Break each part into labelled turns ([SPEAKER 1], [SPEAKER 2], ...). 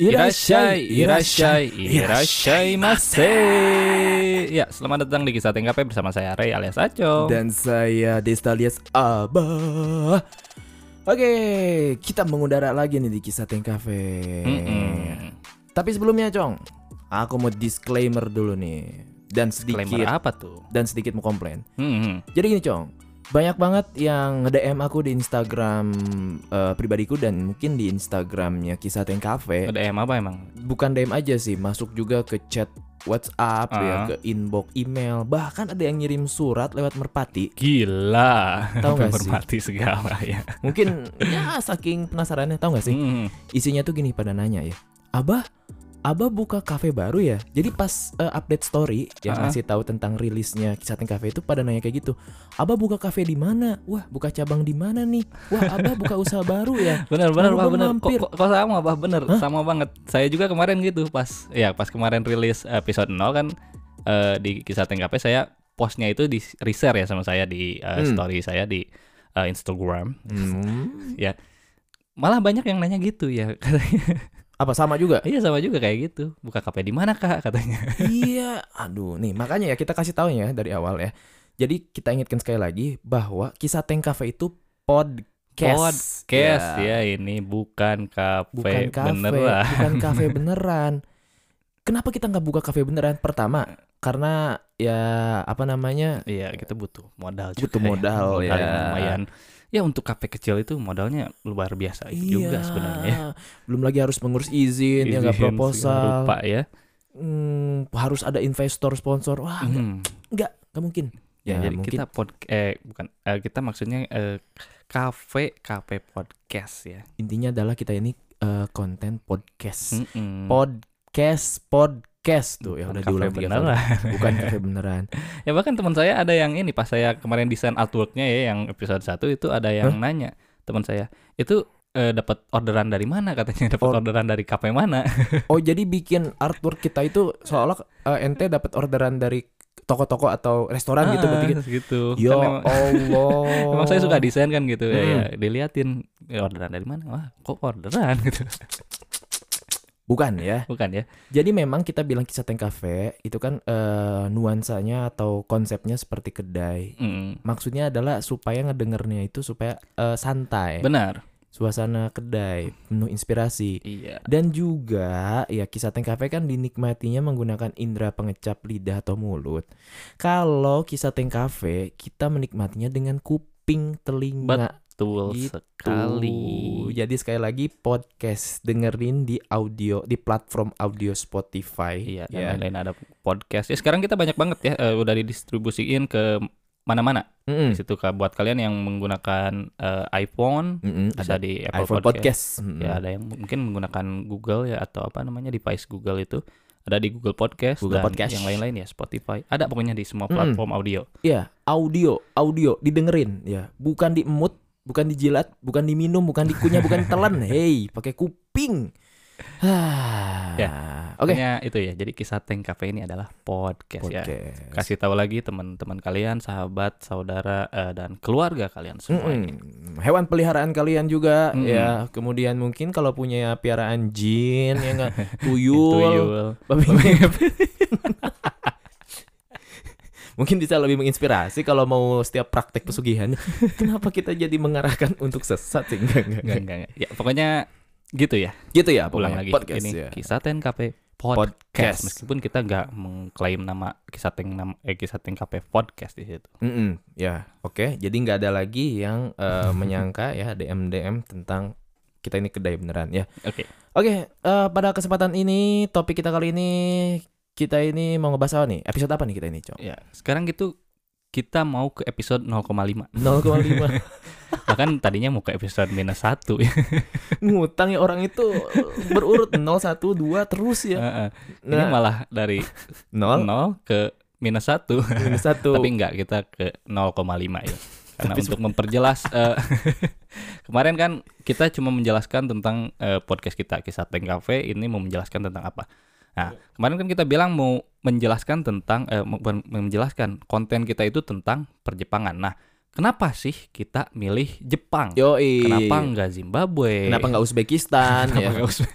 [SPEAKER 1] いらっしゃい、いらっしゃい、いらっしゃいませ。
[SPEAKER 2] Ya, selamat datang di kisah TKP bersama saya Ray alias Aco.
[SPEAKER 1] Dan saya Destalias Abah. Oke, kita mengudara lagi nih di kisah Teng Cafe. eh,
[SPEAKER 2] Mm-mm.
[SPEAKER 1] Tapi sebelumnya, Cong, aku mau disclaimer dulu nih dan sedikit
[SPEAKER 2] Disclaimer apa tuh?
[SPEAKER 1] dan sedikit mau komplain.
[SPEAKER 2] Mm-mm.
[SPEAKER 1] Jadi gini, Cong, banyak banget yang nge-DM aku di Instagram eh, pribadiku dan mungkin di Instagramnya kisah Teng Cafe.
[SPEAKER 2] DM apa emang?
[SPEAKER 1] bukan DM aja sih, masuk juga ke chat WhatsApp ya,
[SPEAKER 2] Ah.
[SPEAKER 1] ke inbox email, bahkan ada yang ngirim surat lewat merpati.
[SPEAKER 2] Gila.
[SPEAKER 1] Tahu nggak sih?
[SPEAKER 2] Menghormati segala ya.
[SPEAKER 1] Mungkin ya saking penasarannya tahu nggak sih?
[SPEAKER 2] Mm-mm.
[SPEAKER 1] Isinya tuh gini pada nanya ya. Abah, Abah buka kafe baru ya. Jadi pas eh, update story yang
[SPEAKER 2] Ah.
[SPEAKER 1] ngasih tahu tentang rilisnya Kisaten Cafe itu pada nanya kayak gitu. Abah buka kafe di mana? Wah, buka cabang di mana nih? Wah, Abah buka usaha baru ya.
[SPEAKER 2] Bener bener
[SPEAKER 1] Baru
[SPEAKER 2] bah
[SPEAKER 1] gua
[SPEAKER 2] bener. Kok,
[SPEAKER 1] mampir.
[SPEAKER 2] kok- kok sama bah bener sama banget. Saya juga kemarin gitu pas ya pas kemarin rilis episode 0 kan eh, di kisah TKP saya postnya itu di share ya sama saya di eh,
[SPEAKER 1] Hmm.
[SPEAKER 2] story saya di eh, Instagram.
[SPEAKER 1] Hmm,
[SPEAKER 2] Malah banyak yang nanya gitu ya.
[SPEAKER 1] apa sama juga?
[SPEAKER 2] Iya sama juga kayak gitu. Buka kafe di mana kak katanya.
[SPEAKER 1] iya, aduh nih makanya ya kita kasih tahu ya dari awal ya. Jadi kita ingatkan sekali lagi bahwa kisah Teng Cafe itu podcast.
[SPEAKER 2] Podcast ya. ini bukan kafe
[SPEAKER 1] Bukan kafe,
[SPEAKER 2] beneran.
[SPEAKER 1] bukan kafe beneran. Kenapa kita nggak buka kafe beneran? Pertama, karena ya apa namanya?
[SPEAKER 2] Iya kita butuh modal juga.
[SPEAKER 1] Butuh
[SPEAKER 2] ya.
[SPEAKER 1] modal, ya.
[SPEAKER 2] yang lumayan. Ya untuk kafe kecil itu modalnya luar biasa juga
[SPEAKER 1] Iya,
[SPEAKER 2] sebenarnya.
[SPEAKER 1] Belum lagi harus mengurus izin, ya nggak
[SPEAKER 2] Izin segala
[SPEAKER 1] proposal.
[SPEAKER 2] rupa ya.
[SPEAKER 1] Hmm, harus ada investor sponsor. Wah, nggak
[SPEAKER 2] Hmm.
[SPEAKER 1] nggak mungkin. Nah,
[SPEAKER 2] Ya, jadi
[SPEAKER 1] mungkin.
[SPEAKER 2] kita pod eh bukan eh, kita maksudnya eh, kafe kafe podcast ya.
[SPEAKER 1] intinya adalah kita ini eh, konten
[SPEAKER 2] Hmm.
[SPEAKER 1] podcast.
[SPEAKER 2] Mm-mm.
[SPEAKER 1] Hmm. podcast podcast tuh ya udah
[SPEAKER 2] Bukan kafe
[SPEAKER 1] diulang tiga kali.
[SPEAKER 2] beneran.
[SPEAKER 1] bukan kafe beneran
[SPEAKER 2] ya bahkan teman saya ada yang ini pas saya kemarin desain artworknya ya yang episode 1 itu ada yang nanya teman saya itu eh, dapat orderan dari mana katanya dapat
[SPEAKER 1] Or-
[SPEAKER 2] orderan dari kafe mana
[SPEAKER 1] oh jadi bikin artwork kita itu seolah eh, ente dapat orderan dari toko-toko atau restoran gitu berarti
[SPEAKER 2] Ah, gitu.
[SPEAKER 1] ya
[SPEAKER 2] Kan emang-
[SPEAKER 1] Allah
[SPEAKER 2] Emang saya suka desain kan gitu ya,
[SPEAKER 1] Mm.
[SPEAKER 2] ya, diliatin "Eh, orderan dari mana? Wah, kok orderan gitu.
[SPEAKER 1] bukan ya
[SPEAKER 2] Bukan ya?
[SPEAKER 1] jadi memang kita bilang kisah teng kafe itu kan eh, nuansanya atau konsepnya seperti kedai
[SPEAKER 2] Mm.
[SPEAKER 1] maksudnya adalah supaya ngedengernya itu supaya eh, santai
[SPEAKER 2] Benar.
[SPEAKER 1] suasana kedai penuh inspirasi
[SPEAKER 2] Iya.
[SPEAKER 1] Dan juga ya kisah Teng Cafe kan dinikmatinya menggunakan indera pengecap lidah atau mulut. Kalau kisah Teng Cafe kita menikmatinya dengan kuping telinga.
[SPEAKER 2] Betul
[SPEAKER 1] Gitu.
[SPEAKER 2] sekali.
[SPEAKER 1] Jadi sekali lagi podcast dengerin di audio di platform audio Spotify.
[SPEAKER 2] Iya, dan
[SPEAKER 1] ya.
[SPEAKER 2] lain-lain ada podcast. Ya sekarang kita banyak banget ya eh, udah didistribusiin ke mana-mana.
[SPEAKER 1] Mm-mm.
[SPEAKER 2] Di situ Kak, buat kalian yang menggunakan eh, iPhone
[SPEAKER 1] Mm-mm.
[SPEAKER 2] ada di Apple
[SPEAKER 1] iPhone
[SPEAKER 2] podcast.
[SPEAKER 1] podcast. Hmm. Mm-mm.
[SPEAKER 2] Ya, ada yang mungkin menggunakan Google ya atau apa namanya device Google itu ada di Google Podcast
[SPEAKER 1] Google
[SPEAKER 2] dan
[SPEAKER 1] Podcast. Hmm.
[SPEAKER 2] yang lain-lain ya Spotify. Ada pokoknya di semua
[SPEAKER 1] Mm-mm.
[SPEAKER 2] platform audio.
[SPEAKER 1] Iya, audio, audio didengerin ya. Bukan diemut, bukan dijilat, bukan diminum, bukan dikunyah, bukan ditelan. Hei, pakai kuping. Hah.
[SPEAKER 2] Ya,
[SPEAKER 1] Oke.
[SPEAKER 2] Pokoknya itu ya. Jadi kisah Tank Cafe ini adalah podcast, ya.
[SPEAKER 1] Podcast.
[SPEAKER 2] Kasih tahu lagi teman-teman kalian, sahabat, saudara eh, dan keluarga
[SPEAKER 1] Hmm.
[SPEAKER 2] kalian semua.
[SPEAKER 1] Mm-mm. Hewan peliharaan kalian juga
[SPEAKER 2] Mm-mm.
[SPEAKER 1] ya. Kemudian mungkin kalau punya piaraan jin ya enggak tuyul,
[SPEAKER 2] Tuyul.
[SPEAKER 1] babi ngepet. Mungkin bisa lebih menginspirasi kalau mau setiap praktek pesugihan. Kenapa kita jadi mengarahkan untuk sesat sih? Enggak, enggak,
[SPEAKER 2] Enggak,
[SPEAKER 1] enggak.
[SPEAKER 2] enggak, enggak. Ya, pokoknya gitu ya.
[SPEAKER 1] Gitu ya,
[SPEAKER 2] Pulang
[SPEAKER 1] pokoknya.
[SPEAKER 2] lagi.
[SPEAKER 1] podcast
[SPEAKER 2] ini
[SPEAKER 1] ya.
[SPEAKER 2] kisah Tank Cafe podcast. Meskipun kita nggak mengklaim nama kisah Tank nama eh, kisah Tank Cafe podcast di situ.
[SPEAKER 1] Mm-mm, ya, oke. Jadi nggak ada lagi yang eh, menyangka ya DM DM tentang kita ini kedai beneran ya.
[SPEAKER 2] Oke.
[SPEAKER 1] Oke, eh, pada kesempatan ini topik kita kali ini kita ini mau ngebahas apa nih? Episode apa nih kita ini, Cok?
[SPEAKER 2] Ya, sekarang gitu kita mau ke episode 0,5
[SPEAKER 1] 0,5
[SPEAKER 2] Bahkan tadinya mau ke episode minus 1 ya
[SPEAKER 1] Ngutang ya orang itu berurut 0, 1, 2 terus ya
[SPEAKER 2] Heeh. Eh, Ini
[SPEAKER 1] Nah,
[SPEAKER 2] malah dari
[SPEAKER 1] 0,
[SPEAKER 2] 0 ke minus 1
[SPEAKER 1] minus 1
[SPEAKER 2] tapi enggak kita ke 0,5 ya karena untuk memperjelas eh, kemarin kan kita cuma menjelaskan tentang eh, podcast kita kisah Tank Cafe ini mau menjelaskan tentang apa
[SPEAKER 1] Iya.
[SPEAKER 2] nah kemarin kan kita bilang mau menjelaskan tentang eh, mau- bukan menjelaskan konten kita itu tentang perjepangan nah kenapa sih kita milih Jepang
[SPEAKER 1] Yoi
[SPEAKER 2] kenapa enggak Zimbabwe
[SPEAKER 1] Kenapa iya. nggak Uzbekistan
[SPEAKER 2] Kenapa
[SPEAKER 1] ya?
[SPEAKER 2] enggak Uzbek?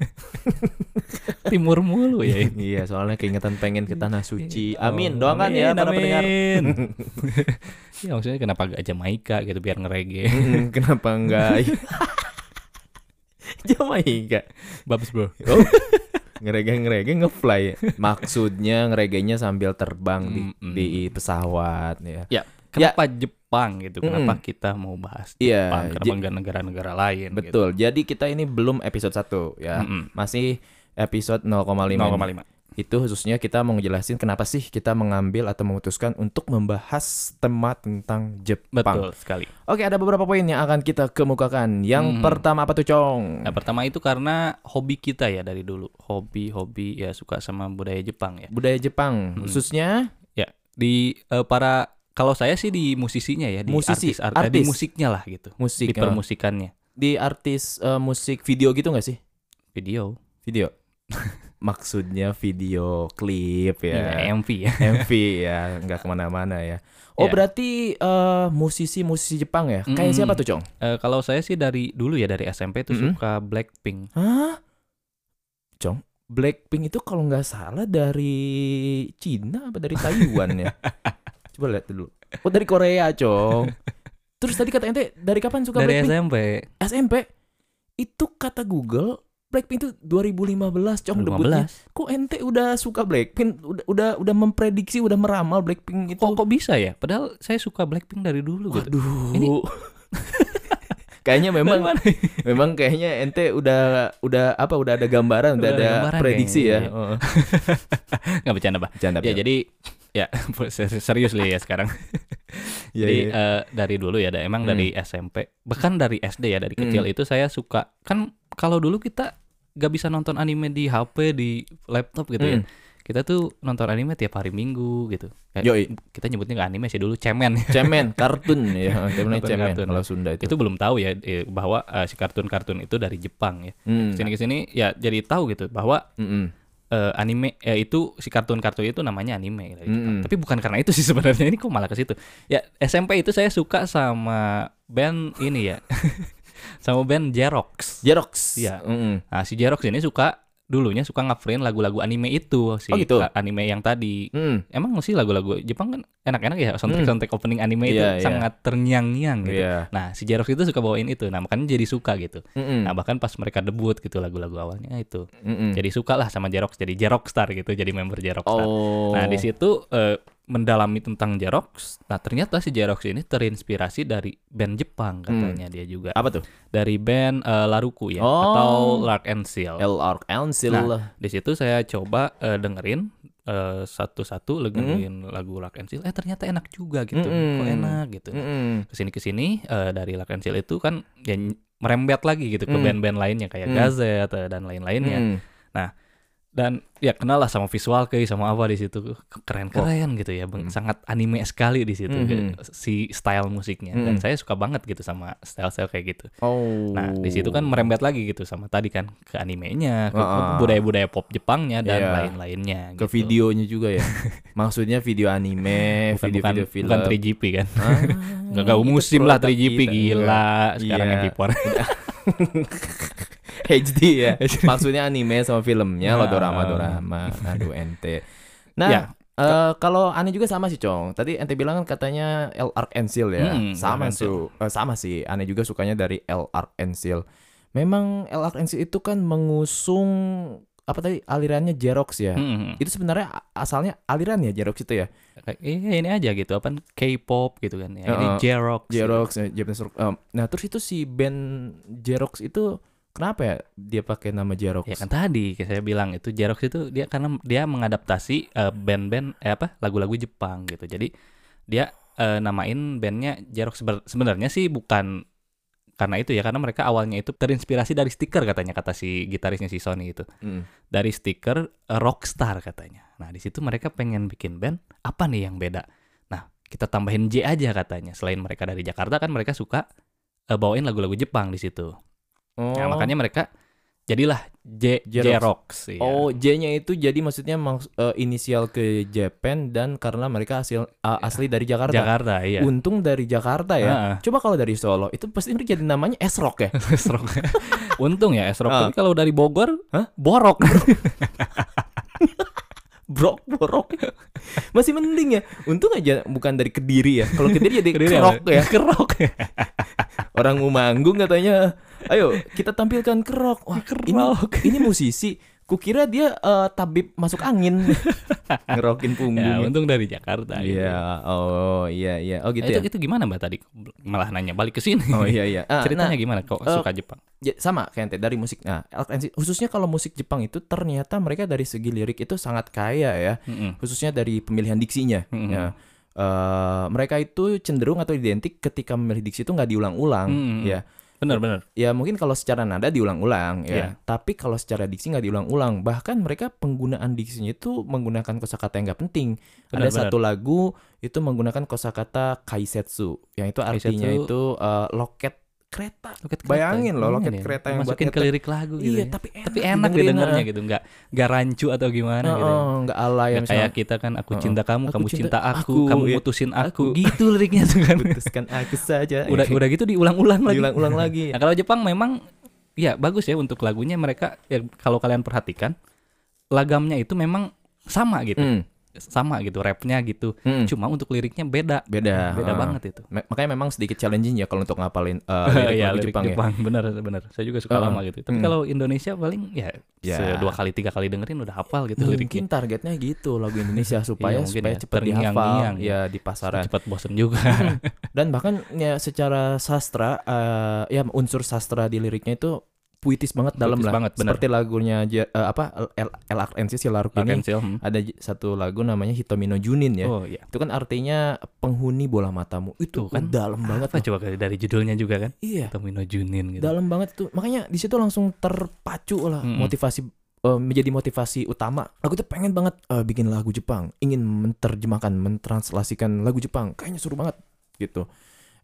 [SPEAKER 2] timur mulu ya.
[SPEAKER 1] iya, soalnya keingetan pengen ke tanah suci. Amin,
[SPEAKER 2] Oh,
[SPEAKER 1] doakan ya
[SPEAKER 2] amin,
[SPEAKER 1] para pendengar.
[SPEAKER 2] amin. ya maksudnya kenapa gak Jamaika gitu biar ngerege.
[SPEAKER 1] Mm, Kenapa enggak? Jamaika.
[SPEAKER 2] Babs bro.
[SPEAKER 1] Oh. Ngerege-ngerege ngefly. ya? Maksudnya ngeregenya sambil terbang di,
[SPEAKER 2] Mm-mm.
[SPEAKER 1] di pesawat ya.
[SPEAKER 2] Kenapa Jepang gitu?
[SPEAKER 1] Mm-mm.
[SPEAKER 2] Kenapa kita mau bahas
[SPEAKER 1] Iya,
[SPEAKER 2] Jepang? Kenapa
[SPEAKER 1] je-
[SPEAKER 2] nggak negara-negara lain? Gitu.
[SPEAKER 1] betul. Jadi kita ini belum episode 1 ya.
[SPEAKER 2] Mm-mm.
[SPEAKER 1] Masih episode 0,5.
[SPEAKER 2] 0,5.
[SPEAKER 1] Itu khususnya kita mau ngejelasin kenapa sih kita mengambil atau memutuskan untuk membahas tema tentang Jepang.
[SPEAKER 2] Betul sekali.
[SPEAKER 1] Oke, ada beberapa poin yang akan kita kemukakan. Yang
[SPEAKER 2] Mhm.
[SPEAKER 1] pertama apa tuh, Cong?
[SPEAKER 2] Nah, pertama itu karena hobi kita ya dari dulu. Hobi-hobi ya suka sama budaya Jepang ya.
[SPEAKER 1] Budaya Jepang,
[SPEAKER 2] Hmm.
[SPEAKER 1] khususnya
[SPEAKER 2] Ya, di eh, para kalau saya sih di musisinya ya, di
[SPEAKER 1] Musisi,
[SPEAKER 2] artis, ar- eh, di
[SPEAKER 1] artis.
[SPEAKER 2] musiknya lah gitu.
[SPEAKER 1] musik. ya. eh.
[SPEAKER 2] Di permusikannya.
[SPEAKER 1] di artis eh, musik video gitu nggak sih?
[SPEAKER 2] Video.
[SPEAKER 1] Video. Maksudnya video klip ya.
[SPEAKER 2] Ya, MV ya.
[SPEAKER 1] MV ya, nggak kemana-mana ya. Oh
[SPEAKER 2] Ya.
[SPEAKER 1] berarti eh, musisi-musisi Jepang ya? Kayak
[SPEAKER 2] Mm-mm.
[SPEAKER 1] siapa tuh Cong?
[SPEAKER 2] Eh, kalau saya sih dari dulu ya dari SMP tuh
[SPEAKER 1] Mm-mm.
[SPEAKER 2] suka Blackpink.
[SPEAKER 1] Hah? Cong, Blackpink itu kalau nggak salah dari Cina apa dari Taiwan ya? Coba lihat dulu. Oh dari Korea Cong. Terus tadi kata ente dari kapan suka
[SPEAKER 2] dari
[SPEAKER 1] Blackpink?
[SPEAKER 2] SMP.
[SPEAKER 1] SMP. Itu kata Google Blackpink itu 2015 Cong debutnya.
[SPEAKER 2] 15.
[SPEAKER 1] Kok ente udah suka Blackpink? Udah udah, udah memprediksi, udah meramal Blackpink itu.
[SPEAKER 2] Kok kok bisa ya? Padahal saya suka Blackpink dari dulu gitu.
[SPEAKER 1] Waduh.
[SPEAKER 2] Ini-
[SPEAKER 1] kayaknya memang
[SPEAKER 2] Dari mana?
[SPEAKER 1] memang kayaknya ente udah udah apa udah ada gambaran, udah,
[SPEAKER 2] Udah ada
[SPEAKER 1] ada
[SPEAKER 2] gambaran
[SPEAKER 1] prediksi ya.
[SPEAKER 2] kayaknya,
[SPEAKER 1] Heeh.
[SPEAKER 2] nggak bercanda, Bah.
[SPEAKER 1] Bercanda,
[SPEAKER 2] Ya,
[SPEAKER 1] bercanda.
[SPEAKER 2] jadi ya ser- serius lah ya sekarang.
[SPEAKER 1] Iya,
[SPEAKER 2] jadi
[SPEAKER 1] iya.
[SPEAKER 2] eh, dari dulu ya, da- emang
[SPEAKER 1] Hmm.
[SPEAKER 2] dari SMP, bahkan dari SD ya dari kecil
[SPEAKER 1] Hmm.
[SPEAKER 2] itu saya suka. Kan kalau dulu kita nggak bisa nonton anime di HP di laptop gitu ya.
[SPEAKER 1] Hmm.
[SPEAKER 2] Kita tuh nonton anime tiap hari Minggu gitu. Kayak
[SPEAKER 1] Yoi.
[SPEAKER 2] Kita nyebutnya nggak anime sih dulu, cemen.
[SPEAKER 1] cemen kartun ya dia namanya
[SPEAKER 2] Kartun,
[SPEAKER 1] cemen
[SPEAKER 2] kartun.
[SPEAKER 1] kalau Sunda itu,
[SPEAKER 2] itu belum tahu ya eh, bahwa eh, si kartun-kartun itu dari Jepang ya.
[SPEAKER 1] Hmm.
[SPEAKER 2] Sini ke sini ya jadi tahu gitu bahwa
[SPEAKER 1] Mm-mm.
[SPEAKER 2] eh, anime eh, itu si kartun-kartun itu namanya anime dari Jepang.
[SPEAKER 1] Mm-mm.
[SPEAKER 2] Tapi bukan karena itu sih sebenarnya ini kok malah ke situ. Ya SMP itu saya suka sama band ini ya. sama band Jerox.
[SPEAKER 1] Jerox Hmm.
[SPEAKER 2] Iya.
[SPEAKER 1] Mm-mm.
[SPEAKER 2] Nah, si Jerox ini suka dulunya suka ngafrin lagu-lagu anime itu si
[SPEAKER 1] Oh, gitu?
[SPEAKER 2] a- anime yang tadi.
[SPEAKER 1] Mm.
[SPEAKER 2] Emang sih lagu-lagu Jepang kan enak-enak ya soundtrack-soundtrack opening anime
[SPEAKER 1] Hmm.
[SPEAKER 2] itu
[SPEAKER 1] Iya, iya.
[SPEAKER 2] sangat terngiang-ngiang gitu.
[SPEAKER 1] Iya. Hmm.
[SPEAKER 2] Nah, si Jerox itu suka bawain itu. Nah, makanya jadi suka gitu.
[SPEAKER 1] Mm-mm.
[SPEAKER 2] Nah, bahkan pas mereka debut gitu lagu-lagu awalnya itu.
[SPEAKER 1] Mm-mm.
[SPEAKER 2] Jadi suka lah sama Jerox, jadi Jerox Star gitu, jadi member Jerox Star.
[SPEAKER 1] oh
[SPEAKER 2] Nah, di situ eh, mendalami tentang Jerox. Nah, ternyata si Jerox ini terinspirasi dari band Jepang katanya dia juga.
[SPEAKER 1] apa tuh
[SPEAKER 2] Dari band eh, Laruku ya
[SPEAKER 1] Hmm. Oh.
[SPEAKER 2] atau Lark and Seal.
[SPEAKER 1] LR Council
[SPEAKER 2] Nah, di situ saya coba eh, dengerin eh, satu-satu
[SPEAKER 1] Hmm.
[SPEAKER 2] dengerin lagu Lark and Seal. Eh, ternyata enak juga gitu.
[SPEAKER 1] Mm-mm.
[SPEAKER 2] Kok enak gitu
[SPEAKER 1] Hmm. Mm-mm.
[SPEAKER 2] kesini kesini eh dari Lark and Seal itu kan ya ny- merembet lagi gitu ke
[SPEAKER 1] Hmm.
[SPEAKER 2] band-band lainnya kayak
[SPEAKER 1] Hmm.
[SPEAKER 2] Gazette eh, dan lain-lainnya
[SPEAKER 1] Mm.
[SPEAKER 2] dan ya kenal lah sama visual kayak sama apa di situ keren-keren gitu ya Bang.
[SPEAKER 1] Hmm.
[SPEAKER 2] sangat anime sekali di situ
[SPEAKER 1] Mhm.
[SPEAKER 2] si style musiknya dan
[SPEAKER 1] Hmm.
[SPEAKER 2] saya suka banget gitu sama style-style kayak gitu
[SPEAKER 1] oh
[SPEAKER 2] nah di situ kan merembet lagi gitu sama tadi kan ke animenya ke
[SPEAKER 1] Ah.
[SPEAKER 2] budaya-budaya pop Jepangnya dan
[SPEAKER 1] Iya.
[SPEAKER 2] lain-lainnya
[SPEAKER 1] ke
[SPEAKER 2] gitu.
[SPEAKER 1] videonya juga ya maksudnya video anime
[SPEAKER 2] bukan,
[SPEAKER 1] video
[SPEAKER 2] bukan,
[SPEAKER 1] video eh, film
[SPEAKER 2] bukan 3GP kan
[SPEAKER 1] Ah,
[SPEAKER 2] nggak nggak
[SPEAKER 1] itu
[SPEAKER 2] musim lah
[SPEAKER 1] produk
[SPEAKER 2] 3GP
[SPEAKER 1] kita.
[SPEAKER 2] gila sekarang
[SPEAKER 1] Iya.
[SPEAKER 2] yang impor
[SPEAKER 1] HD ya maksudnya anime sama filmnya lo
[SPEAKER 2] Nah.
[SPEAKER 1] dorama dorama aduh ente nah
[SPEAKER 2] Ya.
[SPEAKER 1] eh, kalau aneh juga sama sih Cong Tadi ente bilang kan katanya L. Arkensil ya
[SPEAKER 2] Hmm,
[SPEAKER 1] Sama sih
[SPEAKER 2] Arkensil.
[SPEAKER 1] Sama sih Aneh juga sukanya dari L. Arkensil Memang L. Arkensil itu kan mengusung Apa tadi alirannya Jerox ya
[SPEAKER 2] Hmm.
[SPEAKER 1] Itu sebenarnya a- asalnya aliran ya Jerox itu ya
[SPEAKER 2] Kayak, "Eh, ini aja gitu apa K-pop gitu kan ya. Ini
[SPEAKER 1] Heeh.
[SPEAKER 2] J-rock.
[SPEAKER 1] Jerox eh, Japanese Rock. Em, Nah terus itu si band Jerox itu Kenapa ya dia pakai nama Jerox?
[SPEAKER 2] Ya kan tadi kayak saya bilang itu J-rock itu dia karena dia mengadaptasi eh, band-band eh, apa lagu-lagu Jepang gitu. Jadi dia eh, namain bandnya J-rock Seben- sebenarnya sih bukan karena itu ya karena mereka awalnya itu terinspirasi dari stiker katanya kata si gitarisnya si Sony itu.
[SPEAKER 1] Mm.
[SPEAKER 2] Dari stiker eh, Rockstar katanya. Nah, di situ mereka pengen bikin band apa nih yang beda. Nah, kita tambahin J aja katanya. Selain mereka dari Jakarta kan mereka suka eh, bawain lagu-lagu Jepang di situ. Nah,
[SPEAKER 1] Oh.
[SPEAKER 2] makanya mereka Jadilah J
[SPEAKER 1] J-Rox.
[SPEAKER 2] J-Rox. iya.
[SPEAKER 1] Oh, J-nya itu jadi maksudnya maks- eh, inisial ke Japan dan karena mereka hasil a- asli dari Jakarta.
[SPEAKER 2] Iya. Jakarta iya.
[SPEAKER 1] Untung dari Jakarta ya. Coba kalau dari Solo itu pasti jadi namanya S-Rock ya.
[SPEAKER 2] Esrok. Untung ya Esrok.
[SPEAKER 1] Ah.
[SPEAKER 2] Tapi kalau dari Bogor,
[SPEAKER 1] Hah?
[SPEAKER 2] borok.
[SPEAKER 1] Brok borok. Masih mending ya. Untung aja bukan dari Kediri ya. Kalau Kediri jadi
[SPEAKER 2] Kediri
[SPEAKER 1] Kerok
[SPEAKER 2] apa?
[SPEAKER 1] ya.
[SPEAKER 2] Kerok.
[SPEAKER 1] Orang mau manggung katanya, "Ayo, kita tampilkan kerok." Wah, ini ini musisi. Kukira dia eh, tabib masuk angin. Ngerokin punggung.
[SPEAKER 2] Ya, untung dari Jakarta. gitu.
[SPEAKER 1] Iya, oh iya iya. Oh gitu
[SPEAKER 2] Eh,
[SPEAKER 1] ya.
[SPEAKER 2] itu, itu gimana Mbak tadi? Malah nanya balik ke sini.
[SPEAKER 1] Oh iya iya. Ah, nah,
[SPEAKER 2] Ceritanya gimana kok
[SPEAKER 1] eh,
[SPEAKER 2] suka Jepang?
[SPEAKER 1] ya, sama kayak ente, dari musik. Nah, LNC khususnya kalau musik Jepang itu ternyata mereka dari segi lirik itu sangat kaya ya,
[SPEAKER 2] Mm-mm.
[SPEAKER 1] khususnya dari pemilihan diksinya.
[SPEAKER 2] Mm-mm.
[SPEAKER 1] Ya. Eh, mereka itu cenderung atau identik ketika memilih diksi itu nggak diulang-ulang,
[SPEAKER 2] Mm-mm.
[SPEAKER 1] ya.
[SPEAKER 2] Bener bener.
[SPEAKER 1] Ya mungkin kalau secara nada diulang-ulang,
[SPEAKER 2] Iya.
[SPEAKER 1] ya. Tapi kalau secara diksi nggak diulang-ulang. Bahkan mereka penggunaan diksinya itu menggunakan kosakata yang nggak penting. Ada
[SPEAKER 2] Benar, benar.
[SPEAKER 1] satu lagu itu menggunakan kosakata kaisetsu, yang itu artinya
[SPEAKER 2] Kaisetsu.
[SPEAKER 1] itu eh, loket kereta.
[SPEAKER 2] Loket kereta.
[SPEAKER 1] Bayangin loh,
[SPEAKER 2] Gimana
[SPEAKER 1] loket
[SPEAKER 2] ya?
[SPEAKER 1] kereta yang buat
[SPEAKER 2] masukin ke
[SPEAKER 1] nyetek.
[SPEAKER 2] lirik lagu gitu.
[SPEAKER 1] iya,
[SPEAKER 2] ya.
[SPEAKER 1] tapi enak,
[SPEAKER 2] Tapi enak didengarnya gitu, nggak nggak rancu atau gimana gitu.
[SPEAKER 1] Enggak alay
[SPEAKER 2] Nggak
[SPEAKER 1] yang
[SPEAKER 2] kayak kita kan aku
[SPEAKER 1] Heeh.
[SPEAKER 2] cinta kamu,
[SPEAKER 1] Aku
[SPEAKER 2] kamu
[SPEAKER 1] cinta
[SPEAKER 2] cinta aku,
[SPEAKER 1] aku,
[SPEAKER 2] kamu
[SPEAKER 1] iya.
[SPEAKER 2] mutusin aku.
[SPEAKER 1] Aku.
[SPEAKER 2] Gitu liriknya tuh kan.
[SPEAKER 1] putuskan aku saja.
[SPEAKER 2] udah udah gitu diulang-ulang lagi.
[SPEAKER 1] diulang-ulang lagi.
[SPEAKER 2] Nah, kalau Jepang memang ya bagus ya untuk lagunya mereka ya, kalau kalian perhatikan lagamnya itu memang sama gitu.
[SPEAKER 1] Hmm,
[SPEAKER 2] Sama gitu rapnya gitu.
[SPEAKER 1] hmm.
[SPEAKER 2] Cuma untuk liriknya beda.
[SPEAKER 1] Beda.
[SPEAKER 2] Beda
[SPEAKER 1] ah.
[SPEAKER 2] banget itu.
[SPEAKER 1] Me- makanya memang sedikit challenging ya kalau untuk ngapalin eh, lirik
[SPEAKER 2] Iya,
[SPEAKER 1] lagu
[SPEAKER 2] lirik
[SPEAKER 1] Jepang, ya.
[SPEAKER 2] bener bener. Saya juga suka
[SPEAKER 1] Heeh.
[SPEAKER 2] lama gitu. Tapi
[SPEAKER 1] Hmm.
[SPEAKER 2] kalau Indonesia paling ya,
[SPEAKER 1] Ya.
[SPEAKER 2] se- dua kali tiga kali dengerin udah hafal gitu
[SPEAKER 1] Mungkin
[SPEAKER 2] liriknya.
[SPEAKER 1] targetnya gitu lagu Indonesia supaya
[SPEAKER 2] mungkin
[SPEAKER 1] supaya
[SPEAKER 2] ya,
[SPEAKER 1] cepat
[SPEAKER 2] terngiang-ngiang
[SPEAKER 1] dihafal
[SPEAKER 2] ya.
[SPEAKER 1] ya di pasaran.
[SPEAKER 2] Cepat bosen juga.
[SPEAKER 1] Hmm, Dan bahkan ya secara sastra eh, ya unsur sastra di liriknya itu puitis banget dalam lah.
[SPEAKER 2] Puitis banget, benar.
[SPEAKER 1] Seperti lagunya J- eh, apa L- LRNC si Laruk ini
[SPEAKER 2] Pensil, hmm.
[SPEAKER 1] ada j- satu lagu namanya Hitomino Junin ya.
[SPEAKER 2] Oh iya.
[SPEAKER 1] Itu kan artinya penghuni bola matamu. Itu
[SPEAKER 2] Tuh
[SPEAKER 1] kan
[SPEAKER 2] kan.
[SPEAKER 1] dalam banget.
[SPEAKER 2] Apa
[SPEAKER 1] loh.
[SPEAKER 2] coba dari judulnya juga kan?
[SPEAKER 1] Iya,
[SPEAKER 2] Tomino Junin gitu.
[SPEAKER 1] dalam banget itu. Makanya di situ langsung terpacu lah
[SPEAKER 2] Mm-mm.
[SPEAKER 1] motivasi eh, menjadi motivasi utama. Aku tuh pengen banget eh, bikin lagu Jepang, ingin menerjemahkan, mentranslasikan lagu Jepang. Kayaknya seru banget gitu.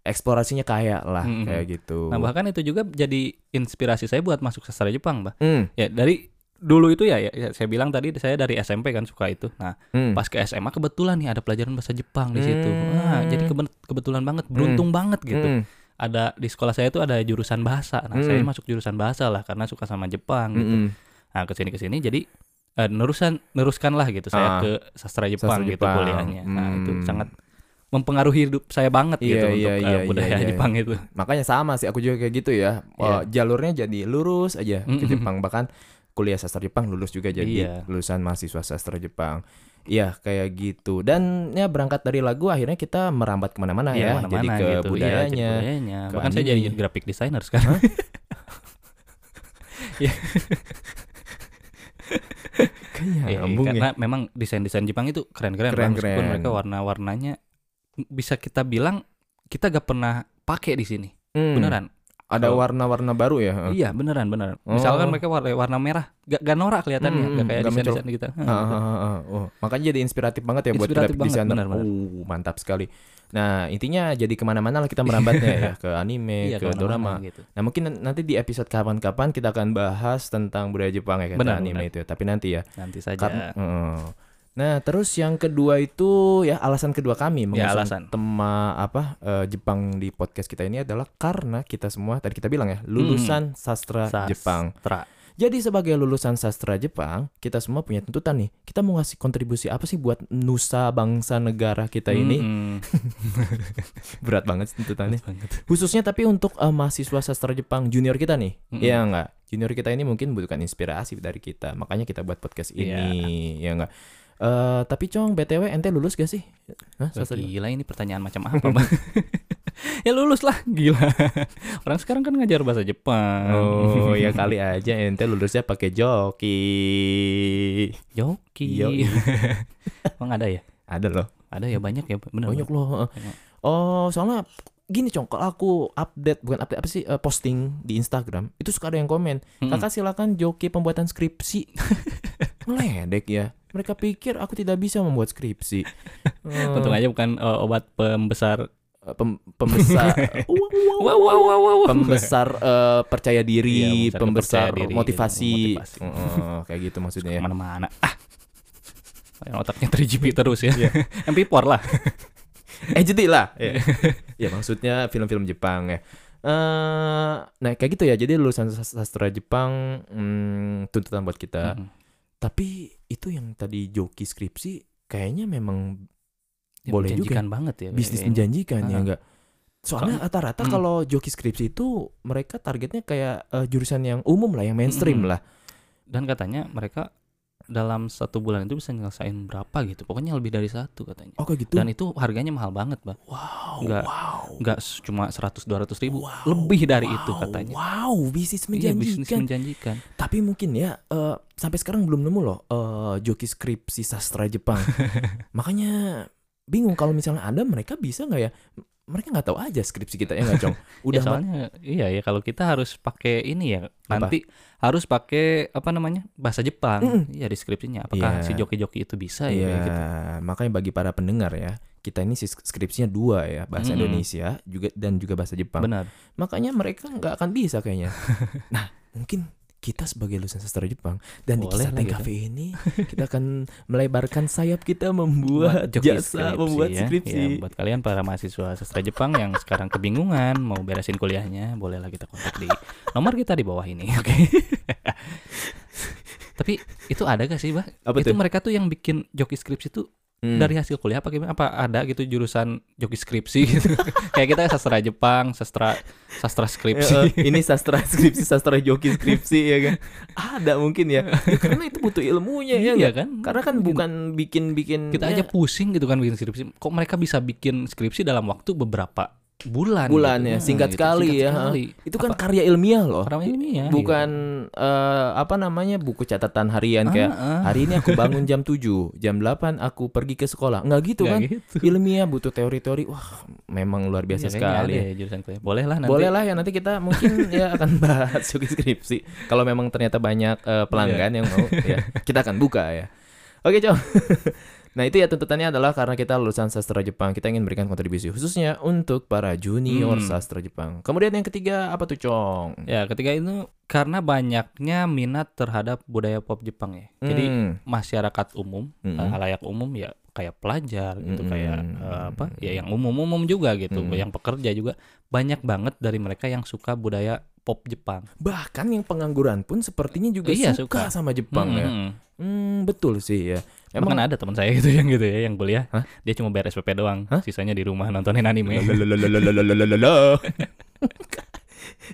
[SPEAKER 1] Eksplorasinya kaya lah
[SPEAKER 2] Mm-mm.
[SPEAKER 1] kayak gitu.
[SPEAKER 2] Nah bahkan itu juga jadi inspirasi saya buat masuk sastra Jepang, bah.
[SPEAKER 1] Mm,
[SPEAKER 2] Ya dari dulu itu ya, ya ya, saya bilang tadi saya dari SMP kan suka itu. Nah
[SPEAKER 1] mm.
[SPEAKER 2] pas ke SMA kebetulan nih ada pelajaran bahasa Jepang di situ. Wah,
[SPEAKER 1] Hmm.
[SPEAKER 2] jadi kebe- kebetulan banget, beruntung banget
[SPEAKER 1] Mm,
[SPEAKER 2] gitu. Ada di sekolah saya itu ada jurusan bahasa. Nah saya
[SPEAKER 1] Hmm.
[SPEAKER 2] masuk jurusan bahasa lah karena suka sama Jepang. Gitu.
[SPEAKER 1] mm-mm.
[SPEAKER 2] Nah kesini kesini jadi eh, nerusan neruskanlah gitu
[SPEAKER 1] Ah,
[SPEAKER 2] saya ke sastra
[SPEAKER 1] sastra
[SPEAKER 2] Jepang gitu
[SPEAKER 1] Jepang.
[SPEAKER 2] kuliahnya. Nah itu
[SPEAKER 1] Hmm.
[SPEAKER 2] sangat mempengaruhi hidup saya banget gitu
[SPEAKER 1] Iya,
[SPEAKER 2] untuk
[SPEAKER 1] iya,
[SPEAKER 2] eh,
[SPEAKER 1] iya, iya,
[SPEAKER 2] budaya
[SPEAKER 1] iya.
[SPEAKER 2] Jepang itu.
[SPEAKER 1] Makanya sama sih aku juga kayak gitu ya.
[SPEAKER 2] Iya.
[SPEAKER 1] Eh, jalurnya jadi lurus aja ke
[SPEAKER 2] Mm-mm.
[SPEAKER 1] Jepang bahkan kuliah sastra Jepang lulus juga jadi
[SPEAKER 2] Iya.
[SPEAKER 1] lulusan mahasiswa sastra Jepang. Iya kayak gitu dan ya berangkat dari lagu akhirnya kita merambat kemana-mana
[SPEAKER 2] Iya,
[SPEAKER 1] ya
[SPEAKER 2] mana-mana
[SPEAKER 1] jadi ke
[SPEAKER 2] gitu. Iya,
[SPEAKER 1] budayanya.
[SPEAKER 2] jadi budayanya.
[SPEAKER 1] ke
[SPEAKER 2] Bahkan saya
[SPEAKER 1] anime.
[SPEAKER 2] jadi graphic designer sekarang.
[SPEAKER 1] Kayaknya
[SPEAKER 2] Iya,
[SPEAKER 1] nyambung ya.
[SPEAKER 2] karena memang desain-desain Jepang itu keren-keren. Pak.
[SPEAKER 1] Keren-keren.
[SPEAKER 2] Meskipun mereka warna-warnanya bisa kita bilang kita gak pernah pakai di sini.
[SPEAKER 1] Hmm,
[SPEAKER 2] Beneran.
[SPEAKER 1] Ada
[SPEAKER 2] Kalau-
[SPEAKER 1] warna-warna baru ya. Heeh.
[SPEAKER 2] Iya, beneran, beneran.
[SPEAKER 1] Oh.
[SPEAKER 2] Misalkan mereka warna, warna merah, gak, gak norak kelihatannya,
[SPEAKER 1] Mm,
[SPEAKER 2] gak kayak
[SPEAKER 1] gak
[SPEAKER 2] desain-desain kita. Hah,
[SPEAKER 1] Ah, ah,
[SPEAKER 2] gitu.
[SPEAKER 1] ah, ah. Oh, makanya jadi inspiratif banget ya buat
[SPEAKER 2] Inspiratif
[SPEAKER 1] graphic
[SPEAKER 2] banget,
[SPEAKER 1] designer.
[SPEAKER 2] benar, benar.
[SPEAKER 1] Oh, mantap sekali. Nah intinya jadi kemana-mana lah kita merambatnya ya ke anime,
[SPEAKER 2] Iya,
[SPEAKER 1] ke
[SPEAKER 2] kemana-mana
[SPEAKER 1] drama,
[SPEAKER 2] gitu.
[SPEAKER 1] Nah mungkin nan- nanti di episode kapan-kapan kita akan bahas tentang budaya Jepang ya kata
[SPEAKER 2] Benar,
[SPEAKER 1] anime
[SPEAKER 2] benar.
[SPEAKER 1] itu. Tapi nanti ya.
[SPEAKER 2] Nanti saja. Iya,
[SPEAKER 1] Karena, Heeh. Nah terus yang kedua itu ya alasan kedua kami mengusung
[SPEAKER 2] alasan.
[SPEAKER 1] tema apa eh, Jepang di podcast kita ini adalah karena kita semua tadi kita bilang ya
[SPEAKER 2] Hmm.
[SPEAKER 1] lulusan sastra
[SPEAKER 2] Sastra.
[SPEAKER 1] Jepang. Jadi sebagai lulusan sastra Jepang kita semua punya tuntutan nih. Kita mau ngasih kontribusi apa sih buat nusa bangsa negara kita ini?
[SPEAKER 2] Mm-mm.
[SPEAKER 1] Berat banget sih tuntutannya.
[SPEAKER 2] Hmm. Banget.
[SPEAKER 1] Khususnya tapi untuk eh, mahasiswa sastra Jepang junior kita nih.
[SPEAKER 2] Mm-mm.
[SPEAKER 1] Iya enggak? Junior kita ini mungkin butuhkan inspirasi dari kita. Makanya kita buat podcast ini. Iya enggak? Eh, tapi Cong, BTW ente lulus gak sih? Hah, sastra Jepang?
[SPEAKER 2] Gila ini pertanyaan macam apa, Bang? ya lulus lah, gila. Orang sekarang kan ngajar bahasa Jepang.
[SPEAKER 1] Oh, ya kali aja ente lulusnya pakai joki. Yoi.
[SPEAKER 2] Yoki. Emang ada ya?
[SPEAKER 1] Ada loh.
[SPEAKER 2] Ada ya banyak ya, bener.
[SPEAKER 1] Banyak loh.
[SPEAKER 2] Banyak.
[SPEAKER 1] Oh, soalnya gini Cong, kalau aku update bukan update apa sih eh, posting di Instagram, itu suka ada yang komen
[SPEAKER 2] Mm-mm.
[SPEAKER 1] Kakak silakan joki pembuatan skripsi. Meledek ya. Mereka pikir aku tidak bisa membuat skripsi. Hmm,
[SPEAKER 2] Untung aja bukan uh, obat eh, pembesar
[SPEAKER 1] eh, pem- pembesar
[SPEAKER 2] Wow, wow, wow, wow, wow.
[SPEAKER 1] pembesar eh, percaya diri, pembesar
[SPEAKER 2] Iya, pembesar kepercaya diri,
[SPEAKER 1] motivasi,
[SPEAKER 2] gitu, motivasi.
[SPEAKER 1] Heeh, kayak gitu maksudnya ya. Iya.
[SPEAKER 2] Kemana-mana. Ah. Yang otaknya 3GP terus ya. MP4 lah.
[SPEAKER 1] Eh jadi lah.
[SPEAKER 2] Iya.
[SPEAKER 1] Ya. ya maksudnya film-film Jepang ya. Eh, nah kayak gitu ya. Jadi lulusan sas- sastra Jepang hmm, tuntutan buat kita.
[SPEAKER 2] Mm.
[SPEAKER 1] Tapi itu yang tadi joki skripsi kayaknya memang
[SPEAKER 2] Ya,
[SPEAKER 1] Boleh
[SPEAKER 2] menjanjikan banget ya.
[SPEAKER 1] bisnis
[SPEAKER 2] kayaknya.
[SPEAKER 1] menjanjikan ya
[SPEAKER 2] Ah.
[SPEAKER 1] enggak. Soalnya rata-rata
[SPEAKER 2] Mm.
[SPEAKER 1] kalau joki skripsi itu mereka targetnya kayak eh, jurusan yang umum lah, yang mainstream
[SPEAKER 2] Mm-mm.
[SPEAKER 1] lah.
[SPEAKER 2] Dan katanya mereka dalam satu bulan itu bisa nyelesain berapa gitu. Pokoknya lebih dari satu katanya.
[SPEAKER 1] Oh kayak gitu.
[SPEAKER 2] Dan itu harganya mahal banget, Bang.
[SPEAKER 1] wow,
[SPEAKER 2] nggak-
[SPEAKER 1] wow.
[SPEAKER 2] Enggak cuma 100 200 ribu.
[SPEAKER 1] Wow,
[SPEAKER 2] Lebih dari
[SPEAKER 1] wow,
[SPEAKER 2] itu katanya.
[SPEAKER 1] Wow, bisnis
[SPEAKER 2] Iya,
[SPEAKER 1] menjanjikan.
[SPEAKER 2] bisnis menjanjikan.
[SPEAKER 1] Tapi mungkin ya eh, sampai sekarang belum nemu loh eh, joki skripsi sastra Jepang. Makanya bingung kalau misalnya ada mereka bisa nggak ya? M- Mereka nggak tahu aja skripsi kita ya nggak cong.
[SPEAKER 2] Ya,
[SPEAKER 1] Udah mat-
[SPEAKER 2] soalnya iya ya kalau kita harus pakai ini ya
[SPEAKER 1] Apa?
[SPEAKER 2] nanti harus pakai apa namanya bahasa Jepang
[SPEAKER 1] Mm-mm.
[SPEAKER 2] ya deskripsinya apakah
[SPEAKER 1] Iya.
[SPEAKER 2] si joki-joki itu bisa
[SPEAKER 1] Iya,
[SPEAKER 2] ya gitu.
[SPEAKER 1] makanya bagi para pendengar ya kita ini sis- skripsinya dua ya bahasa
[SPEAKER 2] Mm-mm.
[SPEAKER 1] Indonesia juga dan juga bahasa Jepang.
[SPEAKER 2] benar
[SPEAKER 1] Makanya mereka nggak akan bisa kayaknya. nah mungkin kita sebagai lulusan sastra Jepang dan di Kisah
[SPEAKER 2] Boleh lah gitu.
[SPEAKER 1] Cafe ini kita akan melebarkan sayap kita membuat
[SPEAKER 2] joki
[SPEAKER 1] jasa, membuat
[SPEAKER 2] ya.
[SPEAKER 1] skripsi.
[SPEAKER 2] Ya, buat kalian para mahasiswa sastra Jepang yang sekarang kebingungan mau beresin kuliahnya bolehlah kita kontak di nomor kita di bawah ini oke tapi itu ada gak sih bah
[SPEAKER 1] Apa
[SPEAKER 2] itu
[SPEAKER 1] tuh?
[SPEAKER 2] mereka tuh yang bikin joki skripsi tuh
[SPEAKER 1] Hmm.
[SPEAKER 2] dari hasil kuliah apa gimana apa ada gitu jurusan joki skripsi gitu kayak kita sastra Jepang sastra sastra
[SPEAKER 1] Eh,
[SPEAKER 2] skripsi
[SPEAKER 1] eh, ini sastra skripsi, sastra joki skripsi ya kan. Ada mungkin ya. Ya, karena itu butuh ilmunya ya
[SPEAKER 2] iya
[SPEAKER 1] nggak?
[SPEAKER 2] kan
[SPEAKER 1] Karena kan bukan bikin-bikin
[SPEAKER 2] kita
[SPEAKER 1] ya,
[SPEAKER 2] aja pusing gitu kan bikin skripsi kok mereka bisa bikin skripsi dalam waktu beberapa bulan
[SPEAKER 1] Bulan
[SPEAKER 2] gitu.
[SPEAKER 1] ya,
[SPEAKER 2] Nah,
[SPEAKER 1] singkat sekali ya.
[SPEAKER 2] sekali.
[SPEAKER 1] itu kan
[SPEAKER 2] Apa- Iya,
[SPEAKER 1] karya ilmiah loh.
[SPEAKER 2] orang ya, ilmiah
[SPEAKER 1] bukan eh, apa namanya buku catatan harian
[SPEAKER 2] gitu.
[SPEAKER 1] kayak
[SPEAKER 2] Ah, ah.
[SPEAKER 1] hari ini aku bangun jam 7, jam 8 aku pergi ke sekolah. Nggak gitu
[SPEAKER 2] Nggak
[SPEAKER 1] kan.
[SPEAKER 2] gitu.
[SPEAKER 1] Ilmiah butuh teori-teori. Wah, memang luar biasa
[SPEAKER 2] Iya, kayaknya
[SPEAKER 1] sekali.
[SPEAKER 2] ada ya jurusan kuliah boleh lah nanti
[SPEAKER 1] Boleh lah ya nanti kita mungkin ya akan bahas joki skripsi. Kalau memang ternyata banyak
[SPEAKER 2] Iya.
[SPEAKER 1] eh, pelanggan yang mau ya kita akan buka ya. Oke, Cong. nah, itu ya tuntutannya adalah karena kita lulusan sastra Jepang, kita ingin memberikan kontribusi khususnya untuk para junior
[SPEAKER 2] Hmm.
[SPEAKER 1] sastra Jepang. Kemudian yang ketiga apa tuh, Cong?
[SPEAKER 2] ya ketika itu karena banyaknya minat terhadap budaya pop Jepang ya jadi
[SPEAKER 1] Hmm. Ah,
[SPEAKER 2] masyarakat umum
[SPEAKER 1] Mm-mm.
[SPEAKER 2] eh, layak umum ya kayak pelajar gitu
[SPEAKER 1] Mm-mm.
[SPEAKER 2] kayak eh, apa ya yang umum-umum juga gitu
[SPEAKER 1] Mm.
[SPEAKER 2] yang pekerja juga banyak banget dari mereka yang suka budaya pop Jepang
[SPEAKER 1] bahkan yang pengangguran pun sepertinya juga
[SPEAKER 2] Iya,
[SPEAKER 1] suka,
[SPEAKER 2] suka.
[SPEAKER 1] sama Jepang ya.
[SPEAKER 2] Mm-mm.
[SPEAKER 1] Hmm, betul sih ya.
[SPEAKER 2] Emang
[SPEAKER 1] Emang
[SPEAKER 2] ada teman saya gitu yang gitu ya yang kuliah
[SPEAKER 1] Hah?
[SPEAKER 2] dia cuma beres PP doang
[SPEAKER 1] Hah?
[SPEAKER 2] sisanya di rumah nontonin anime
[SPEAKER 1] Lalalalalalalalalala.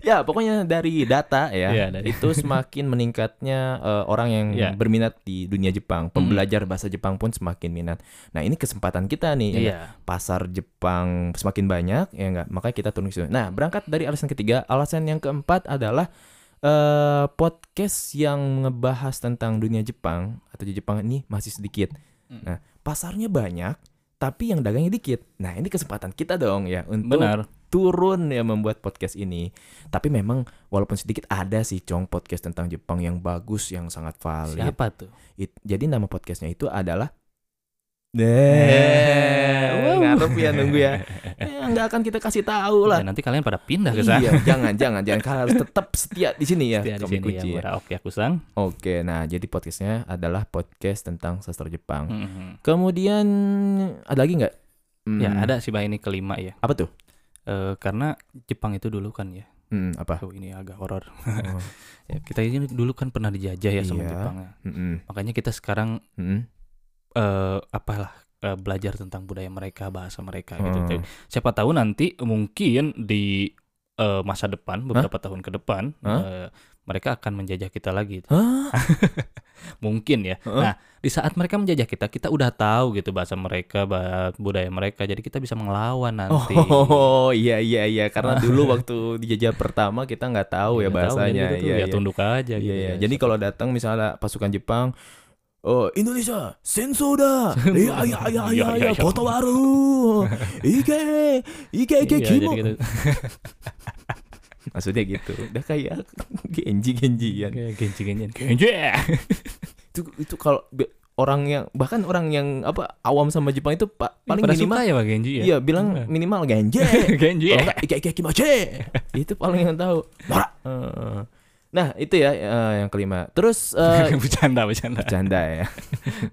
[SPEAKER 1] ya pokoknya dari data ya
[SPEAKER 2] Iya, dari-
[SPEAKER 1] itu semakin meningkatnya eh, orang yang
[SPEAKER 2] Iya.
[SPEAKER 1] berminat di dunia Jepang pembelajar bahasa Jepang pun semakin minat nah ini kesempatan kita nih ya nggak?
[SPEAKER 2] iya
[SPEAKER 1] pasar Jepang semakin banyak ya enggak makanya kita turun ke situ nah berangkat dari alasan ketiga alasan yang keempat adalah eh podcast yang ngebahas tentang dunia Jepang atau di Jepang ini masih sedikit
[SPEAKER 2] Mm.
[SPEAKER 1] nah pasarnya banyak tapi yang dagangnya dikit nah ini kesempatan kita dong ya untuk
[SPEAKER 2] benar
[SPEAKER 1] turun ya membuat podcast ini tapi memang walaupun sedikit ada sih cong podcast tentang Jepang yang bagus yang sangat valid
[SPEAKER 2] siapa tuh
[SPEAKER 1] It- jadi nama podcastnya itu adalah
[SPEAKER 2] Eh,
[SPEAKER 1] Wow.
[SPEAKER 2] wow.
[SPEAKER 1] ngarep ya nunggu ya. Eh, nggak akan kita kasih tahu
[SPEAKER 2] Ya,
[SPEAKER 1] lah.
[SPEAKER 2] nanti kalian pada pindah ke sana
[SPEAKER 1] Iya, jangan jangan jangan kalian harus tetap setia di sini ya.
[SPEAKER 2] Setia
[SPEAKER 1] Kami
[SPEAKER 2] di sini ya,
[SPEAKER 1] kunci ya.
[SPEAKER 2] Murah Oke aku sang
[SPEAKER 1] Oke, nah jadi podcastnya adalah podcast tentang sastra Jepang.
[SPEAKER 2] Hmm,
[SPEAKER 1] Kemudian ada lagi nggak? Hmm,
[SPEAKER 2] ya ada sih bah ini kelima ya
[SPEAKER 1] Apa tuh?
[SPEAKER 2] Eh, karena Jepang itu dulu kan ya
[SPEAKER 1] Hmm, apa?
[SPEAKER 2] oh, ini agak horor
[SPEAKER 1] Oh,
[SPEAKER 2] Ya, kita ini dulu kan pernah dijajah ya sama
[SPEAKER 1] Iya.
[SPEAKER 2] Jepang. ya.
[SPEAKER 1] mm-mm,
[SPEAKER 2] Makanya kita sekarang
[SPEAKER 1] mm-mm.
[SPEAKER 2] eh apalah eh, belajar tentang budaya mereka, bahasa mereka gitu.
[SPEAKER 1] Hmm.
[SPEAKER 2] Jadi, Siapa tahu nanti mungkin di eh, masa depan beberapa tahun ke depan
[SPEAKER 1] Hah?
[SPEAKER 2] eh, mereka akan menjajah kita lagi. gitu.
[SPEAKER 1] Hah?
[SPEAKER 2] Mungkin ya.
[SPEAKER 1] Heeh.
[SPEAKER 2] Nah, di saat mereka menjajah kita, kita udah tahu gitu bahasa mereka, bah- budaya mereka. Jadi kita bisa melawan nanti.
[SPEAKER 1] Oh iya iya iya karena dulu waktu dijajah pertama kita nggak tahu ya
[SPEAKER 2] Udah tahu,
[SPEAKER 1] bahasanya.
[SPEAKER 2] jadi kita tuh
[SPEAKER 1] Iya,
[SPEAKER 2] ya
[SPEAKER 1] iya.
[SPEAKER 2] tunduk aja
[SPEAKER 1] Iya,
[SPEAKER 2] gitu.
[SPEAKER 1] iya.
[SPEAKER 2] ya.
[SPEAKER 1] Jadi kalau datang misalnya pasukan Jepang, oh Indonesia, senso da, iya iya iya iya
[SPEAKER 2] Iya, iya,
[SPEAKER 1] iya,
[SPEAKER 2] iya.
[SPEAKER 1] koto baru, ike ike ike
[SPEAKER 2] Iya, jadi
[SPEAKER 1] kimo.
[SPEAKER 2] kita-
[SPEAKER 1] Maksudnya gitu, udah kayak genji genjian.
[SPEAKER 2] Kayak genjing-genjing. Genjing.
[SPEAKER 1] Itu itu kalau be- orang yang bahkan orang yang apa awam sama Jepang itu pa- paling
[SPEAKER 2] pada
[SPEAKER 1] minimal
[SPEAKER 2] suka ya Pak Genji ya?
[SPEAKER 1] iya bilang
[SPEAKER 2] Bener.
[SPEAKER 1] minimal ganje.
[SPEAKER 2] Genji
[SPEAKER 1] Kalau
[SPEAKER 2] ya.
[SPEAKER 1] enggak ike ike kimachi. itu paling yang tahu. Norak. Heeh. Nah, itu ya eh, yang kelima. Terus eh,
[SPEAKER 2] bercanda, bercanda.
[SPEAKER 1] bercanda ya.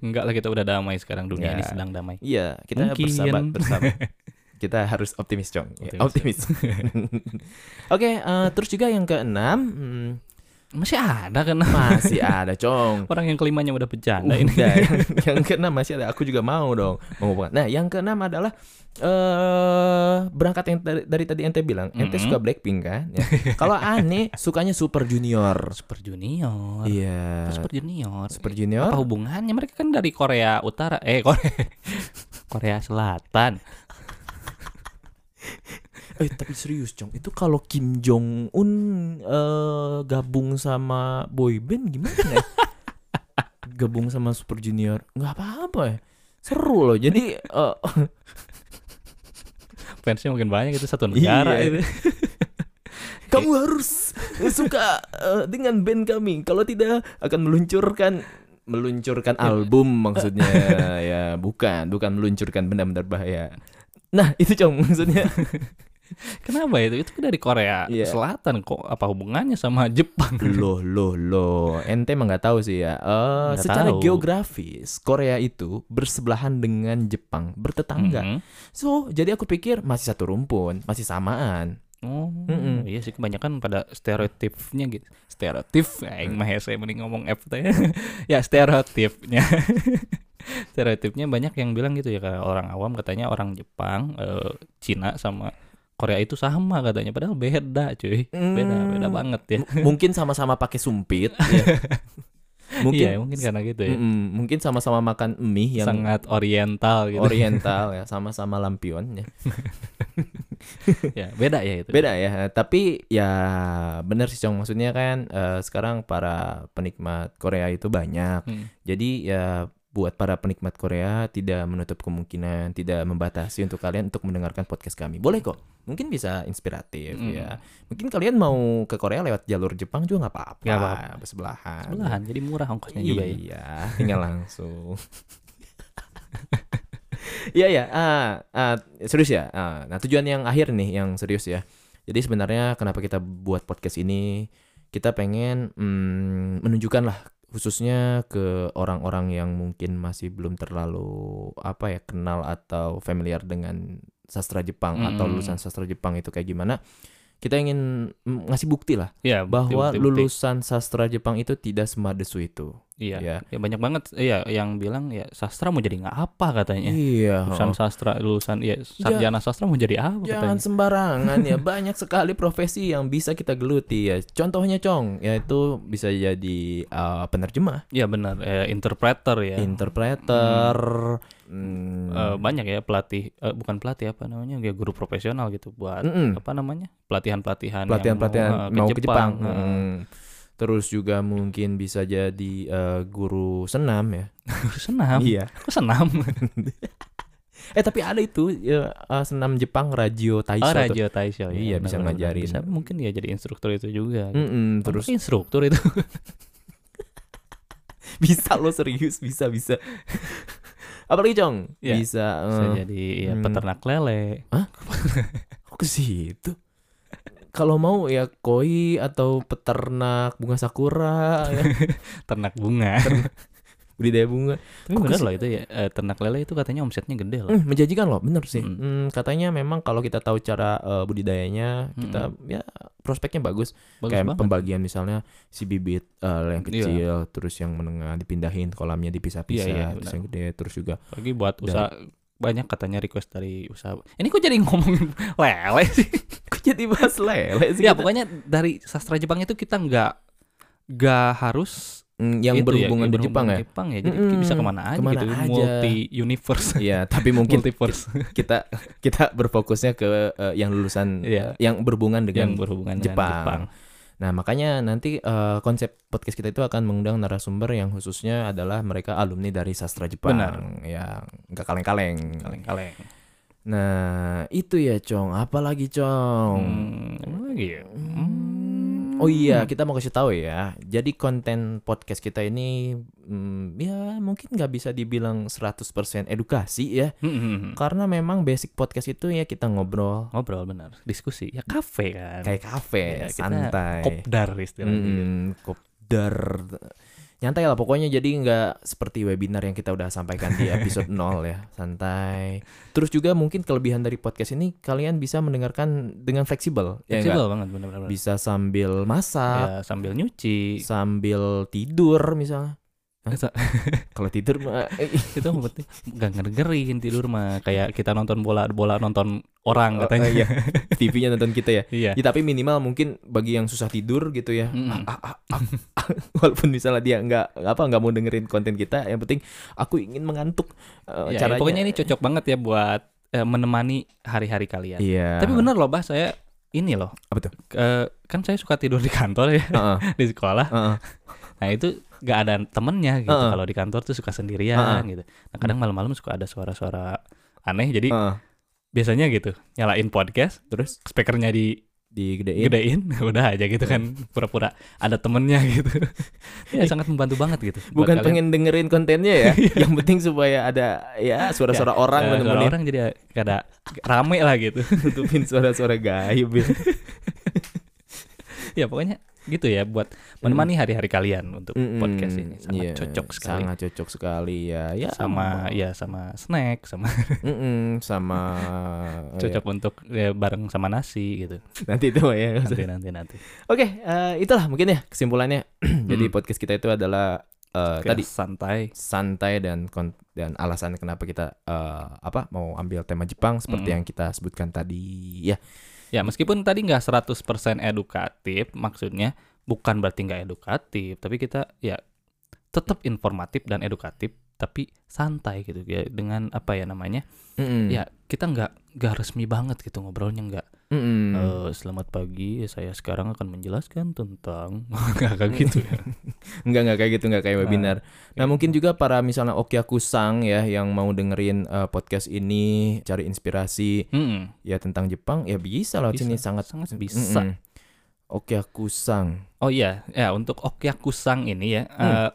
[SPEAKER 2] Enggak lah kita udah damai sekarang dunia ini
[SPEAKER 1] Ya.
[SPEAKER 2] sedang damai.
[SPEAKER 1] Iya, kita
[SPEAKER 2] Mungkin.
[SPEAKER 1] bersahabat bersama. kita harus optimis, Cong. Ya,
[SPEAKER 2] Optimis.
[SPEAKER 1] Optimis. Oke, eh, terus juga yang keenam hmm,
[SPEAKER 2] Masih ada kan
[SPEAKER 1] masih ada, Cong.
[SPEAKER 2] orang yang kelimanya udah bercanda ini.
[SPEAKER 1] Udah, yang, yang keenam masih ada. Aku juga mau dong menghubungkan. Nah, yang keenam adalah eh berangkat yang dari, dari tadi ente bilang, ente
[SPEAKER 2] Mm-mm.
[SPEAKER 1] suka Blackpink kan? Ya. Kalau aneh sukanya Super Junior.
[SPEAKER 2] Super Junior.
[SPEAKER 1] Iya.
[SPEAKER 2] Super Junior.
[SPEAKER 1] Super Junior.
[SPEAKER 2] Apa hubungannya? Mereka kan dari Korea Utara, eh Korea Korea Selatan.
[SPEAKER 1] Eh tapi serius Cong, itu kalau Kim Jong Un eh, gabung sama boyband gimana? ya? gabung sama Super Junior nggak apa-apa ya. Seru loh. Jadi eh,
[SPEAKER 2] Fansnya mungkin banyak itu satu negara
[SPEAKER 1] Iya.
[SPEAKER 2] itu.
[SPEAKER 1] kamu harus suka eh, dengan band kami. Kalau tidak akan meluncurkan meluncurkan album maksudnya ya bukan bukan meluncurkan benda-benda bahaya. Nah, itu Cong maksudnya.
[SPEAKER 2] Kenapa itu? Itu dari Korea
[SPEAKER 1] Iya.
[SPEAKER 2] Selatan kok apa hubungannya sama Jepang?
[SPEAKER 1] loh loh loh ente emang nggak tahu sih ya Eh,
[SPEAKER 2] Nggak
[SPEAKER 1] secara
[SPEAKER 2] tahu.
[SPEAKER 1] geografis Korea itu bersebelahan dengan Jepang bertetangga
[SPEAKER 2] Mm-mm.
[SPEAKER 1] so jadi aku pikir masih satu rumpun masih samaan
[SPEAKER 2] Oh,
[SPEAKER 1] Mm-mm.
[SPEAKER 2] iya sih kebanyakan pada stereotipnya gitu. Stereotip, ya, yang
[SPEAKER 1] Mm.
[SPEAKER 2] mah saya mending ngomong F tuh ya. ya stereotipnya. stereotipnya banyak yang bilang gitu ya kayak orang awam katanya orang Jepang, eh, Cina sama Korea itu sama katanya padahal beda cuy. Beda, beda banget ya.
[SPEAKER 1] Mm. M- mungkin sama-sama pakai sumpit ya. mungkin
[SPEAKER 2] Iya, mungkin karena gitu ya.
[SPEAKER 1] Mm-mm, mungkin sama-sama makan mie yang
[SPEAKER 2] Sangat oriental gitu.
[SPEAKER 1] oriental ya sama-sama lampion ya
[SPEAKER 2] ya, beda ya itu.
[SPEAKER 1] beda ya tapi ya bener sih cong maksudnya kan eh, sekarang para penikmat Korea itu banyak
[SPEAKER 2] Hmm.
[SPEAKER 1] Jadi ya buat para penikmat Korea tidak menutup kemungkinan, tidak membatasi untuk kalian untuk mendengarkan podcast kami. Boleh kok. Mungkin bisa inspiratif
[SPEAKER 2] Mm.
[SPEAKER 1] ya. Mungkin kalian mau ke Korea lewat jalur Jepang juga nggak apa-apa.
[SPEAKER 2] Nggak apa-apa.
[SPEAKER 1] Sebelahan.
[SPEAKER 2] Sebelahan, jadi murah ongkosnya
[SPEAKER 1] Iya,
[SPEAKER 2] juga ya.
[SPEAKER 1] tinggal langsung. Iya ya, ah, ah, serius ya. Ah, nah tujuan yang akhir nih, yang serius ya. Jadi sebenarnya kenapa kita buat podcast ini? Kita pengen mm, menunjukkan lah khususnya ke orang-orang yang mungkin masih belum terlalu apa ya kenal atau familiar dengan sastra Jepang atau
[SPEAKER 2] Mm-mm.
[SPEAKER 1] lulusan sastra Jepang itu kayak gimana. Kita ingin mm, ngasih bukti lah
[SPEAKER 2] Iya,
[SPEAKER 1] bahwa
[SPEAKER 2] betul-betul.
[SPEAKER 1] lulusan sastra Jepang itu tidak semadesu itu.
[SPEAKER 2] Iya.
[SPEAKER 1] Ya.
[SPEAKER 2] Ya banyak banget iya yang bilang ya sastra mau jadi nggak apa katanya.
[SPEAKER 1] Iya.
[SPEAKER 2] lulusan sastra lulusan ya sarjana sastra mau jadi apa
[SPEAKER 1] Jangan
[SPEAKER 2] katanya
[SPEAKER 1] sembarangan ya. Banyak sekali profesi yang bisa kita geluti ya. Contohnya Cong, yaitu bisa jadi uh, penerjemah,
[SPEAKER 2] ya benar eh, interpreter ya
[SPEAKER 1] interpreter,
[SPEAKER 2] Eh,
[SPEAKER 1] mm,
[SPEAKER 2] banyak ya pelatih eh, bukan pelatih apa namanya ya guru profesional gitu buat
[SPEAKER 1] mm-mm,
[SPEAKER 2] apa namanya eh, pelatihan pelatihan
[SPEAKER 1] Mm. pelatihan-pelatihan mau, ke Jepang.
[SPEAKER 2] Eh,
[SPEAKER 1] Mm. Terus juga mungkin bisa jadi uh, guru senam ya.
[SPEAKER 2] senam
[SPEAKER 1] Iya.
[SPEAKER 2] kok senam
[SPEAKER 1] Eh tapi ada itu ya, uh, senam Jepang Radio Taiso.
[SPEAKER 2] oh
[SPEAKER 1] tuh.
[SPEAKER 2] Raja Taisho ya
[SPEAKER 1] Iya, bisa
[SPEAKER 2] benar-benar.
[SPEAKER 1] ngajarin.
[SPEAKER 2] Bisa, mungkin dia jadi instruktur itu juga gitu.
[SPEAKER 1] Mm-mm, terus
[SPEAKER 2] Apakah instruktur itu
[SPEAKER 1] bisa lo serius bisa bisa apalagi cong
[SPEAKER 2] Ya,
[SPEAKER 1] bisa
[SPEAKER 2] bisa
[SPEAKER 1] eh,
[SPEAKER 2] jadi ya,
[SPEAKER 1] Hmm.
[SPEAKER 2] peternak lele
[SPEAKER 1] kok ke situ kalau mau ya koi atau peternak bunga sakura ya,
[SPEAKER 2] ternak bunga
[SPEAKER 1] budidaya bunga
[SPEAKER 2] tapi
[SPEAKER 1] Kok
[SPEAKER 2] bener
[SPEAKER 1] kesi-
[SPEAKER 2] loh itu ya eh, ternak lele itu katanya omsetnya gede loh
[SPEAKER 1] Hmm, menjanjikan loh bener sih
[SPEAKER 2] Mm.
[SPEAKER 1] Hmm, katanya memang kalau kita tahu cara eh, budidayanya kita ya prospeknya bagus,
[SPEAKER 2] Hmm. bagus
[SPEAKER 1] kayak
[SPEAKER 2] banget
[SPEAKER 1] pembagian misalnya si bibit eh, yang
[SPEAKER 2] Iya.
[SPEAKER 1] kecil terus yang menengah dipindahin kolamnya dipisah-pisah
[SPEAKER 2] Iya, iya,
[SPEAKER 1] terus
[SPEAKER 2] benar.
[SPEAKER 1] yang gede terus juga
[SPEAKER 2] Lagi buat
[SPEAKER 1] Dan-
[SPEAKER 2] usaha banyak katanya request dari usaha. Ini kok jadi ngomongin lele sih?
[SPEAKER 1] kok jadi bahas lele sih Gitu.
[SPEAKER 2] ya
[SPEAKER 1] kita?
[SPEAKER 2] pokoknya dari sastra Jepang itu kita nggak nggak harus
[SPEAKER 1] Hmm, yang
[SPEAKER 2] itu ya,
[SPEAKER 1] berhubungan
[SPEAKER 2] yang
[SPEAKER 1] dengan Jepang ya
[SPEAKER 2] Jepang ya. Jadi
[SPEAKER 1] Mm-mm.
[SPEAKER 2] bisa kemana aja
[SPEAKER 1] Kemana
[SPEAKER 2] gitu.
[SPEAKER 1] aja.
[SPEAKER 2] Multi universe.
[SPEAKER 1] Iya, tapi mungkin
[SPEAKER 2] Multiverse
[SPEAKER 1] kita kita berfokusnya ke eh, yang lulusan
[SPEAKER 2] Iya.
[SPEAKER 1] eh, yang berhubungan dengan
[SPEAKER 2] yang berhubungan
[SPEAKER 1] Jepang.
[SPEAKER 2] dengan Jepang.
[SPEAKER 1] nah makanya nanti eh, konsep podcast kita itu akan mengundang narasumber yang khususnya adalah mereka alumni dari sastra Jepang
[SPEAKER 2] Benar.
[SPEAKER 1] ya nggak kaleng-kaleng
[SPEAKER 2] Kaleng-kaleng.
[SPEAKER 1] nah itu ya cong apalagi cong
[SPEAKER 2] Hmm, apa Hmm, lagi ya?
[SPEAKER 1] Hmm, Oh iya, kita mau kasih tahu ya. Jadi konten podcast kita ini mm, ya mungkin nggak bisa dibilang 100% edukasi ya.
[SPEAKER 2] Hmm, hmm, hmm.
[SPEAKER 1] Karena memang basic podcast itu ya kita ngobrol
[SPEAKER 2] Ngobrol benar, diskusi. Ya kafe kan.
[SPEAKER 1] kayak kafe,
[SPEAKER 2] Ya, kita
[SPEAKER 1] santai.
[SPEAKER 2] kopdar istilahnya. gitu.
[SPEAKER 1] Mm, kopdar. Nyantai lah pokoknya jadi nggak seperti webinar yang kita udah sampaikan di episode 0 ya. Santai. Terus juga mungkin kelebihan dari podcast ini kalian bisa mendengarkan dengan fleksibel. ya nggak?
[SPEAKER 2] Fleksibel banget benar-benar.
[SPEAKER 1] Bisa sambil masak,
[SPEAKER 2] Ya, sambil nyuci.
[SPEAKER 1] sambil tidur misalnya.
[SPEAKER 2] Sa-
[SPEAKER 1] Kalau tidur mah- eh,
[SPEAKER 2] itu yang penting gak ngergerin tidur mah kayak kita nonton bola bola nonton orang
[SPEAKER 1] Oh,
[SPEAKER 2] katanya
[SPEAKER 1] eh, iya. TV-nya nonton kita ya.
[SPEAKER 2] iya
[SPEAKER 1] Ya, tapi minimal mungkin bagi yang susah tidur gitu ya.
[SPEAKER 2] Mm-mm.
[SPEAKER 1] Ah, ah, ah, ah. Walaupun misalnya dia nggak apa nggak mau dengerin konten kita, yang penting aku ingin mengantuk eh,
[SPEAKER 2] Ya,
[SPEAKER 1] caranya.
[SPEAKER 2] pokoknya ini cocok banget ya buat eh, menemani hari-hari kalian
[SPEAKER 1] Iya.
[SPEAKER 2] tapi bener loh bah saya ini loh
[SPEAKER 1] Apa tuh?
[SPEAKER 2] eh, kan saya suka tidur di kantor ya
[SPEAKER 1] Heeh,
[SPEAKER 2] di sekolah
[SPEAKER 1] heeh.
[SPEAKER 2] nah itu gak ada temennya gitu
[SPEAKER 1] Heeh.
[SPEAKER 2] kalau di kantor tuh suka sendirian gitu nah kadang malam-malam suka ada suara-suara aneh jadi
[SPEAKER 1] heeh.
[SPEAKER 2] biasanya gitu nyalain podcast
[SPEAKER 1] Terus
[SPEAKER 2] speakernya digedein
[SPEAKER 1] digedein.
[SPEAKER 2] udah aja gitu kan pura-pura ada temennya gitu ya sangat membantu banget gitu buat
[SPEAKER 1] Bukan
[SPEAKER 2] kalian.
[SPEAKER 1] pengen dengerin kontennya ya.
[SPEAKER 2] Iya.
[SPEAKER 1] yang penting supaya ada ya suara-suara orang
[SPEAKER 2] Eh, suara
[SPEAKER 1] menemenin
[SPEAKER 2] orang jadi kada rame lah gitu
[SPEAKER 1] tutupin suara-suara gaib. ya.
[SPEAKER 2] ya pokoknya gitu ya buat menemani hari-hari kalian untuk
[SPEAKER 1] Mm-mm.
[SPEAKER 2] podcast ini sangat
[SPEAKER 1] Hmm. Iya,
[SPEAKER 2] cocok sekali
[SPEAKER 1] Sangat cocok sekali ya. Ya
[SPEAKER 2] sama ya sama snack sama
[SPEAKER 1] Mm-mm, sama oh,
[SPEAKER 2] cocok untuk ya, bareng sama nasi
[SPEAKER 1] ya.
[SPEAKER 2] gitu
[SPEAKER 1] Nanti itu ya.
[SPEAKER 2] nanti nanti nanti
[SPEAKER 1] Oke, eh, itulah mungkin ya kesimpulannya.
[SPEAKER 2] Hmm.
[SPEAKER 1] Jadi podcast kita itu adalah eh,
[SPEAKER 2] Kayak
[SPEAKER 1] tadi
[SPEAKER 2] santai
[SPEAKER 1] santai dan kon- dan alasan kenapa kita eh, apa mau ambil tema Jepang seperti
[SPEAKER 2] Mm-mm.
[SPEAKER 1] yang kita sebutkan tadi ya.
[SPEAKER 2] ya meskipun tadi nggak 100% edukatif maksudnya bukan berarti nggak edukatif tapi kita ya tetap informatif dan edukatif tapi santai gitu ya dengan apa ya namanya
[SPEAKER 1] Mm-mm.
[SPEAKER 2] ya kita nggak nggak resmi banget gitu ngobrolnya nggak
[SPEAKER 1] Mm-mm.
[SPEAKER 2] Eh, selamat pagi, saya sekarang akan menjelaskan tentang kakak gitu ya.
[SPEAKER 1] Enggak enggak kayak gitu, enggak kayak webinar. Nah,
[SPEAKER 2] iya.
[SPEAKER 1] mungkin juga para misalnya Okyakusang ya yang mau dengerin eh, podcast ini cari inspirasi
[SPEAKER 2] Mm-mm.
[SPEAKER 1] ya tentang Jepang ya bisa loh
[SPEAKER 2] Bisa,
[SPEAKER 1] sini sangat
[SPEAKER 2] sangat bisa.
[SPEAKER 1] Mm-mm. Okyakusang.
[SPEAKER 2] Oh iya, ya untuk Okyakusang ini ya,
[SPEAKER 1] Hmm.
[SPEAKER 2] eh,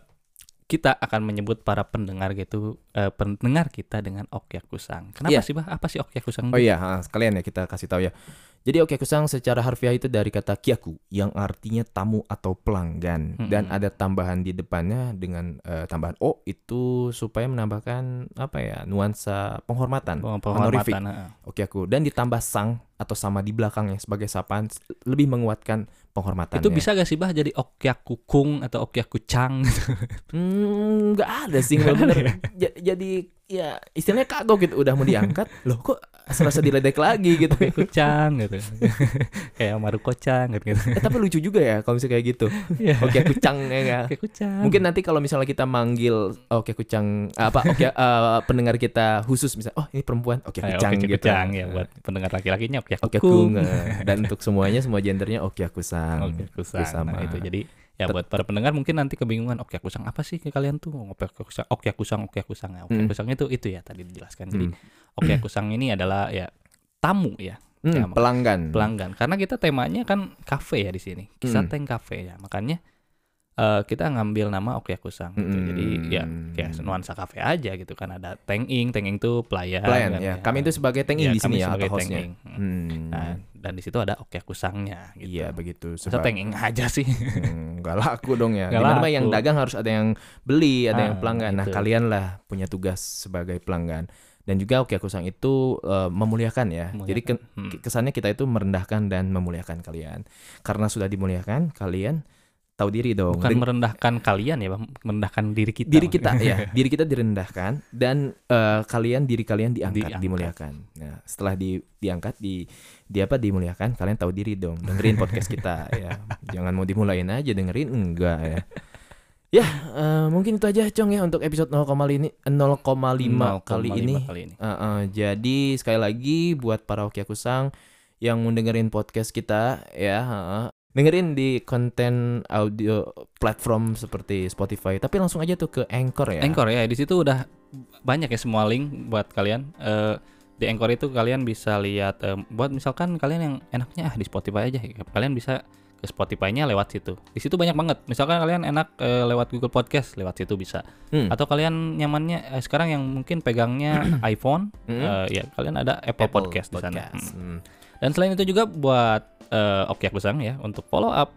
[SPEAKER 2] kita akan menyebut para pendengar gitu, eh, pendengar kita dengan Okyakusang. Kenapa
[SPEAKER 1] Iya.
[SPEAKER 2] sih bah? Apa sih Okyakusang?
[SPEAKER 1] Oh iya, ha, sekalian ya kita kasih tahu ya. Jadi oke kusang secara harfiah itu dari kata kiaku yang artinya tamu atau pelanggan
[SPEAKER 2] Mm-mm.
[SPEAKER 1] dan ada tambahan di depannya dengan eh, tambahan o itu supaya menambahkan apa ya nuansa penghormatan.
[SPEAKER 2] Oh,
[SPEAKER 1] honorific.
[SPEAKER 2] penghormatan. heeh.
[SPEAKER 1] Oke aku dan ditambah sang atau sama di belakangnya sebagai sapaan s- lebih menguatkan penghormatannya.
[SPEAKER 2] Itu bisa gak sih bah jadi Okyakukung atau Okyakucang?
[SPEAKER 1] Hmm, nggak ada sih
[SPEAKER 2] Nggak ada
[SPEAKER 1] bener. jadi ya istilahnya kagok gitu udah mau diangkat loh kok serasa diledek lagi gitu.
[SPEAKER 2] Okyakucang gitu. Kayak Marukocang gitu. gitu.
[SPEAKER 1] Eh, tapi lucu juga ya kalau misalnya kayak gitu.
[SPEAKER 2] Iya.
[SPEAKER 1] Oke kucang ya nggak?
[SPEAKER 2] Okyakucang.
[SPEAKER 1] Mungkin nanti kalau misalnya kita manggil oke kucang apa oke eh, pendengar kita khusus misalnya oh ini perempuan oke
[SPEAKER 2] Eh,
[SPEAKER 1] kucang gitu.
[SPEAKER 2] Okyakucang, ya buat pendengar laki-lakinya
[SPEAKER 1] Oke
[SPEAKER 2] Okyakukung.
[SPEAKER 1] dan untuk semuanya semua gendernya oke kusang.
[SPEAKER 2] Oke, kusang.
[SPEAKER 1] Kusama.
[SPEAKER 2] Nah, itu jadi ya
[SPEAKER 1] Tet-
[SPEAKER 2] buat para pendengar mungkin nanti kebingungan oke kusang apa sih kalian tuh oke kusang oke kusang oke kusang oke
[SPEAKER 1] Hmm.
[SPEAKER 2] kusang itu itu ya tadi dijelaskan jadi
[SPEAKER 1] Hmm.
[SPEAKER 2] oke kusang ini adalah ya tamu ya
[SPEAKER 1] Hmm,
[SPEAKER 2] Ya,
[SPEAKER 1] pelanggan.
[SPEAKER 2] pelanggan karena kita temanya kan kafe ya di sini kisah
[SPEAKER 1] Hmm.
[SPEAKER 2] tank kafe ya makanya eh, kita ngambil nama oke kusang gitu.
[SPEAKER 1] Hmm.
[SPEAKER 2] jadi ya kayak nuansa kafe aja gitu kan ada tenging tenging tuh pelayan
[SPEAKER 1] Pelayan
[SPEAKER 2] kan,
[SPEAKER 1] ya. Kami itu sebagai tank
[SPEAKER 2] Ya,
[SPEAKER 1] di
[SPEAKER 2] kami
[SPEAKER 1] sini ya
[SPEAKER 2] sebagai
[SPEAKER 1] atau hostnya.
[SPEAKER 2] tenging. Hmm.
[SPEAKER 1] Hmm.
[SPEAKER 2] Nah, dan di situ ada oke kusangnya gitu
[SPEAKER 1] Iya begitu.
[SPEAKER 2] Masa
[SPEAKER 1] Sebab
[SPEAKER 2] tenging aja sih
[SPEAKER 1] Hmm, nggak laku dong ya.
[SPEAKER 2] Nggak
[SPEAKER 1] Dimana mah
[SPEAKER 2] laku.
[SPEAKER 1] yang dagang harus ada yang beli, ada yang
[SPEAKER 2] Ah,
[SPEAKER 1] pelanggan. Nah
[SPEAKER 2] gitu.
[SPEAKER 1] kalian lah punya tugas sebagai pelanggan. Dan juga Oke Kusang itu eh, memuliakan ya. Jadi ke-
[SPEAKER 2] Memuliakan. Hmm.
[SPEAKER 1] kesannya kita itu merendahkan dan memuliakan kalian. Karena sudah dimuliakan, kalian tahu diri dong.
[SPEAKER 2] Bukan
[SPEAKER 1] Deng-
[SPEAKER 2] merendahkan kalian ya, Bang. merendahkan diri kita.
[SPEAKER 1] diri kita ya, diri kita direndahkan dan eh, kalian diri kalian diangkat,
[SPEAKER 2] Diangkat.
[SPEAKER 1] dimuliakan. Nah, setelah di diangkat di di apa dimuliakan, kalian tahu diri dong. Dengerin podcast kita ya. Jangan mau dimulain aja dengerin enggak ya. Ya, eh, mungkin itu aja Cong ya untuk episode 0,5 ini 0,5 kali ini.
[SPEAKER 2] kali ini.
[SPEAKER 1] Eh, eh, jadi sekali lagi buat para Okyakusang yang mau dengerin podcast kita ya, eh, dengerin di konten audio platform seperti Spotify, tapi langsung aja tuh ke Anchor ya.
[SPEAKER 2] Anchor ya, di situ udah banyak ya semua link buat kalian. Eh, di Anchor itu kalian bisa lihat eh, buat misalkan kalian yang enaknya ah di Spotify aja. Kalian bisa ke Spotify-nya lewat situ. Di situ banyak banget. Misalkan kalian enak eh, lewat Google Podcast, lewat situ bisa.
[SPEAKER 1] Hmm.
[SPEAKER 2] Atau kalian nyamannya eh, sekarang yang mungkin pegangnya iPhone,
[SPEAKER 1] Hmm.
[SPEAKER 2] eh, ya kalian ada Apple,
[SPEAKER 1] Apple
[SPEAKER 2] Podcast di sana.
[SPEAKER 1] Podcast.
[SPEAKER 2] Hmm.
[SPEAKER 1] Hmm.
[SPEAKER 2] Dan selain itu juga buat eh, Okyak Besang ya untuk follow up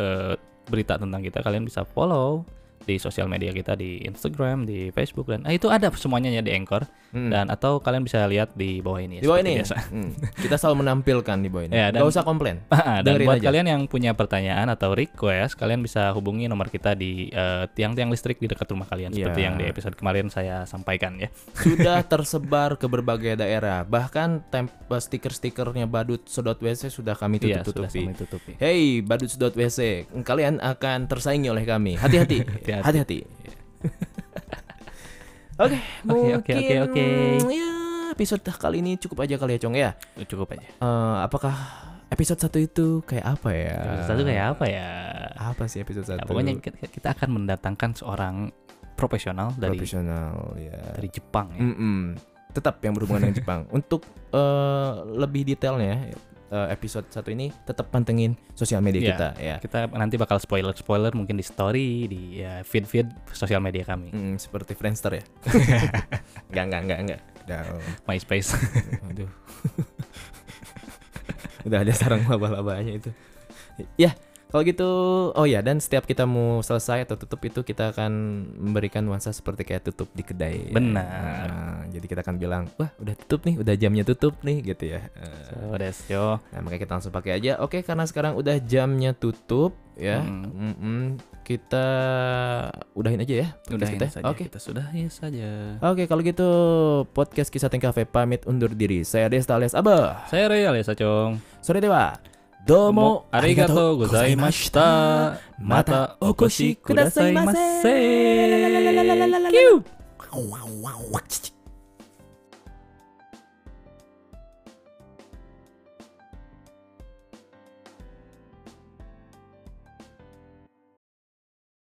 [SPEAKER 2] eh, berita tentang kita kalian bisa follow di sosial media kita di Instagram, di Facebook dan ah, itu ada semuanya ya di Anchor
[SPEAKER 1] Hmm.
[SPEAKER 2] dan atau kalian bisa lihat di bawah ini. ya,
[SPEAKER 1] di bawah
[SPEAKER 2] seperti
[SPEAKER 1] ini.
[SPEAKER 2] biasa.
[SPEAKER 1] Hmm. Kita selalu menampilkan di bawah ini.
[SPEAKER 2] Ya, dan-
[SPEAKER 1] Gak usah komplain.
[SPEAKER 2] Ah, dan
[SPEAKER 1] Dengerin
[SPEAKER 2] buat
[SPEAKER 1] aja.
[SPEAKER 2] kalian yang punya pertanyaan atau request, kalian bisa hubungi nomor kita di eh, tiang-tiang listrik di dekat rumah kalian seperti
[SPEAKER 1] Iya.
[SPEAKER 2] yang di episode kemarin saya sampaikan ya.
[SPEAKER 1] Sudah tersebar ke berbagai daerah. Bahkan tem- stiker-stikernya Badut Sedot WC sudah kami
[SPEAKER 2] Iya, sudah
[SPEAKER 1] tutup-tutupi.
[SPEAKER 2] kami tutupi.
[SPEAKER 1] Hey, Badut Sedot WC, kalian akan tersaingi oleh kami. Hati-hati.
[SPEAKER 2] Hati-hati.
[SPEAKER 1] Hati-hati. Oke,
[SPEAKER 2] oke,
[SPEAKER 1] mungkin
[SPEAKER 2] oke, oke.
[SPEAKER 1] ya, episode kali ini cukup aja kali ya, Cong ya.
[SPEAKER 2] Cukup aja.
[SPEAKER 1] Eh, apakah episode satu itu kayak apa ya?
[SPEAKER 2] Episode satu kayak apa ya?
[SPEAKER 1] apa sih episode
[SPEAKER 2] Ya,
[SPEAKER 1] satu?
[SPEAKER 2] pokoknya kita, kita akan mendatangkan seorang profesional dari
[SPEAKER 1] profesional ya.
[SPEAKER 2] dari Jepang ya.
[SPEAKER 1] Mm-mm. Tetap yang berhubungan dengan Jepang. Untuk eh, lebih detailnya eh, episode satu ini tetap pantengin sosial media
[SPEAKER 2] Iya.
[SPEAKER 1] kita ya.
[SPEAKER 2] Kita nanti bakal spoiler-spoiler mungkin di story, di ya, feed-feed sosial media kami,
[SPEAKER 1] Mm, seperti Friendster ya. enggak enggak enggak enggak. Udah,
[SPEAKER 2] MySpace.
[SPEAKER 1] oh, aduh. Udah ada sarang laba-labanya itu. Ya, kalau gitu oh ya dan setiap kita mau selesai atau tutup itu kita akan memberikan nuansa seperti kayak tutup di kedai. ya.
[SPEAKER 2] Benar.
[SPEAKER 1] Nah, jadi kita akan bilang, "Wah, udah tutup nih, udah jamnya tutup nih." gitu ya. Eh,
[SPEAKER 2] so, that's yo.
[SPEAKER 1] Nah, makanya kita langsung pakai aja. Oke, karena sekarang udah jamnya tutup ya.
[SPEAKER 2] Mm.
[SPEAKER 1] Mm-mm. Kita udahin aja ya. podcast
[SPEAKER 2] Udahin
[SPEAKER 1] kita.
[SPEAKER 2] saja. Ah.
[SPEAKER 1] Oke.
[SPEAKER 2] Kita sudahi saja.
[SPEAKER 1] Oke, kalau gitu podcast Kisah Teng Cafe pamit undur diri. Saya Desta alias Abah.
[SPEAKER 2] Saya Ray alias Acong.
[SPEAKER 1] Sore dewa. Domo
[SPEAKER 2] arigato gozaimashita. Mata okoshi kudasai
[SPEAKER 1] kudasaimase.
[SPEAKER 2] Kiu.
[SPEAKER 1] Wow, wow, wow.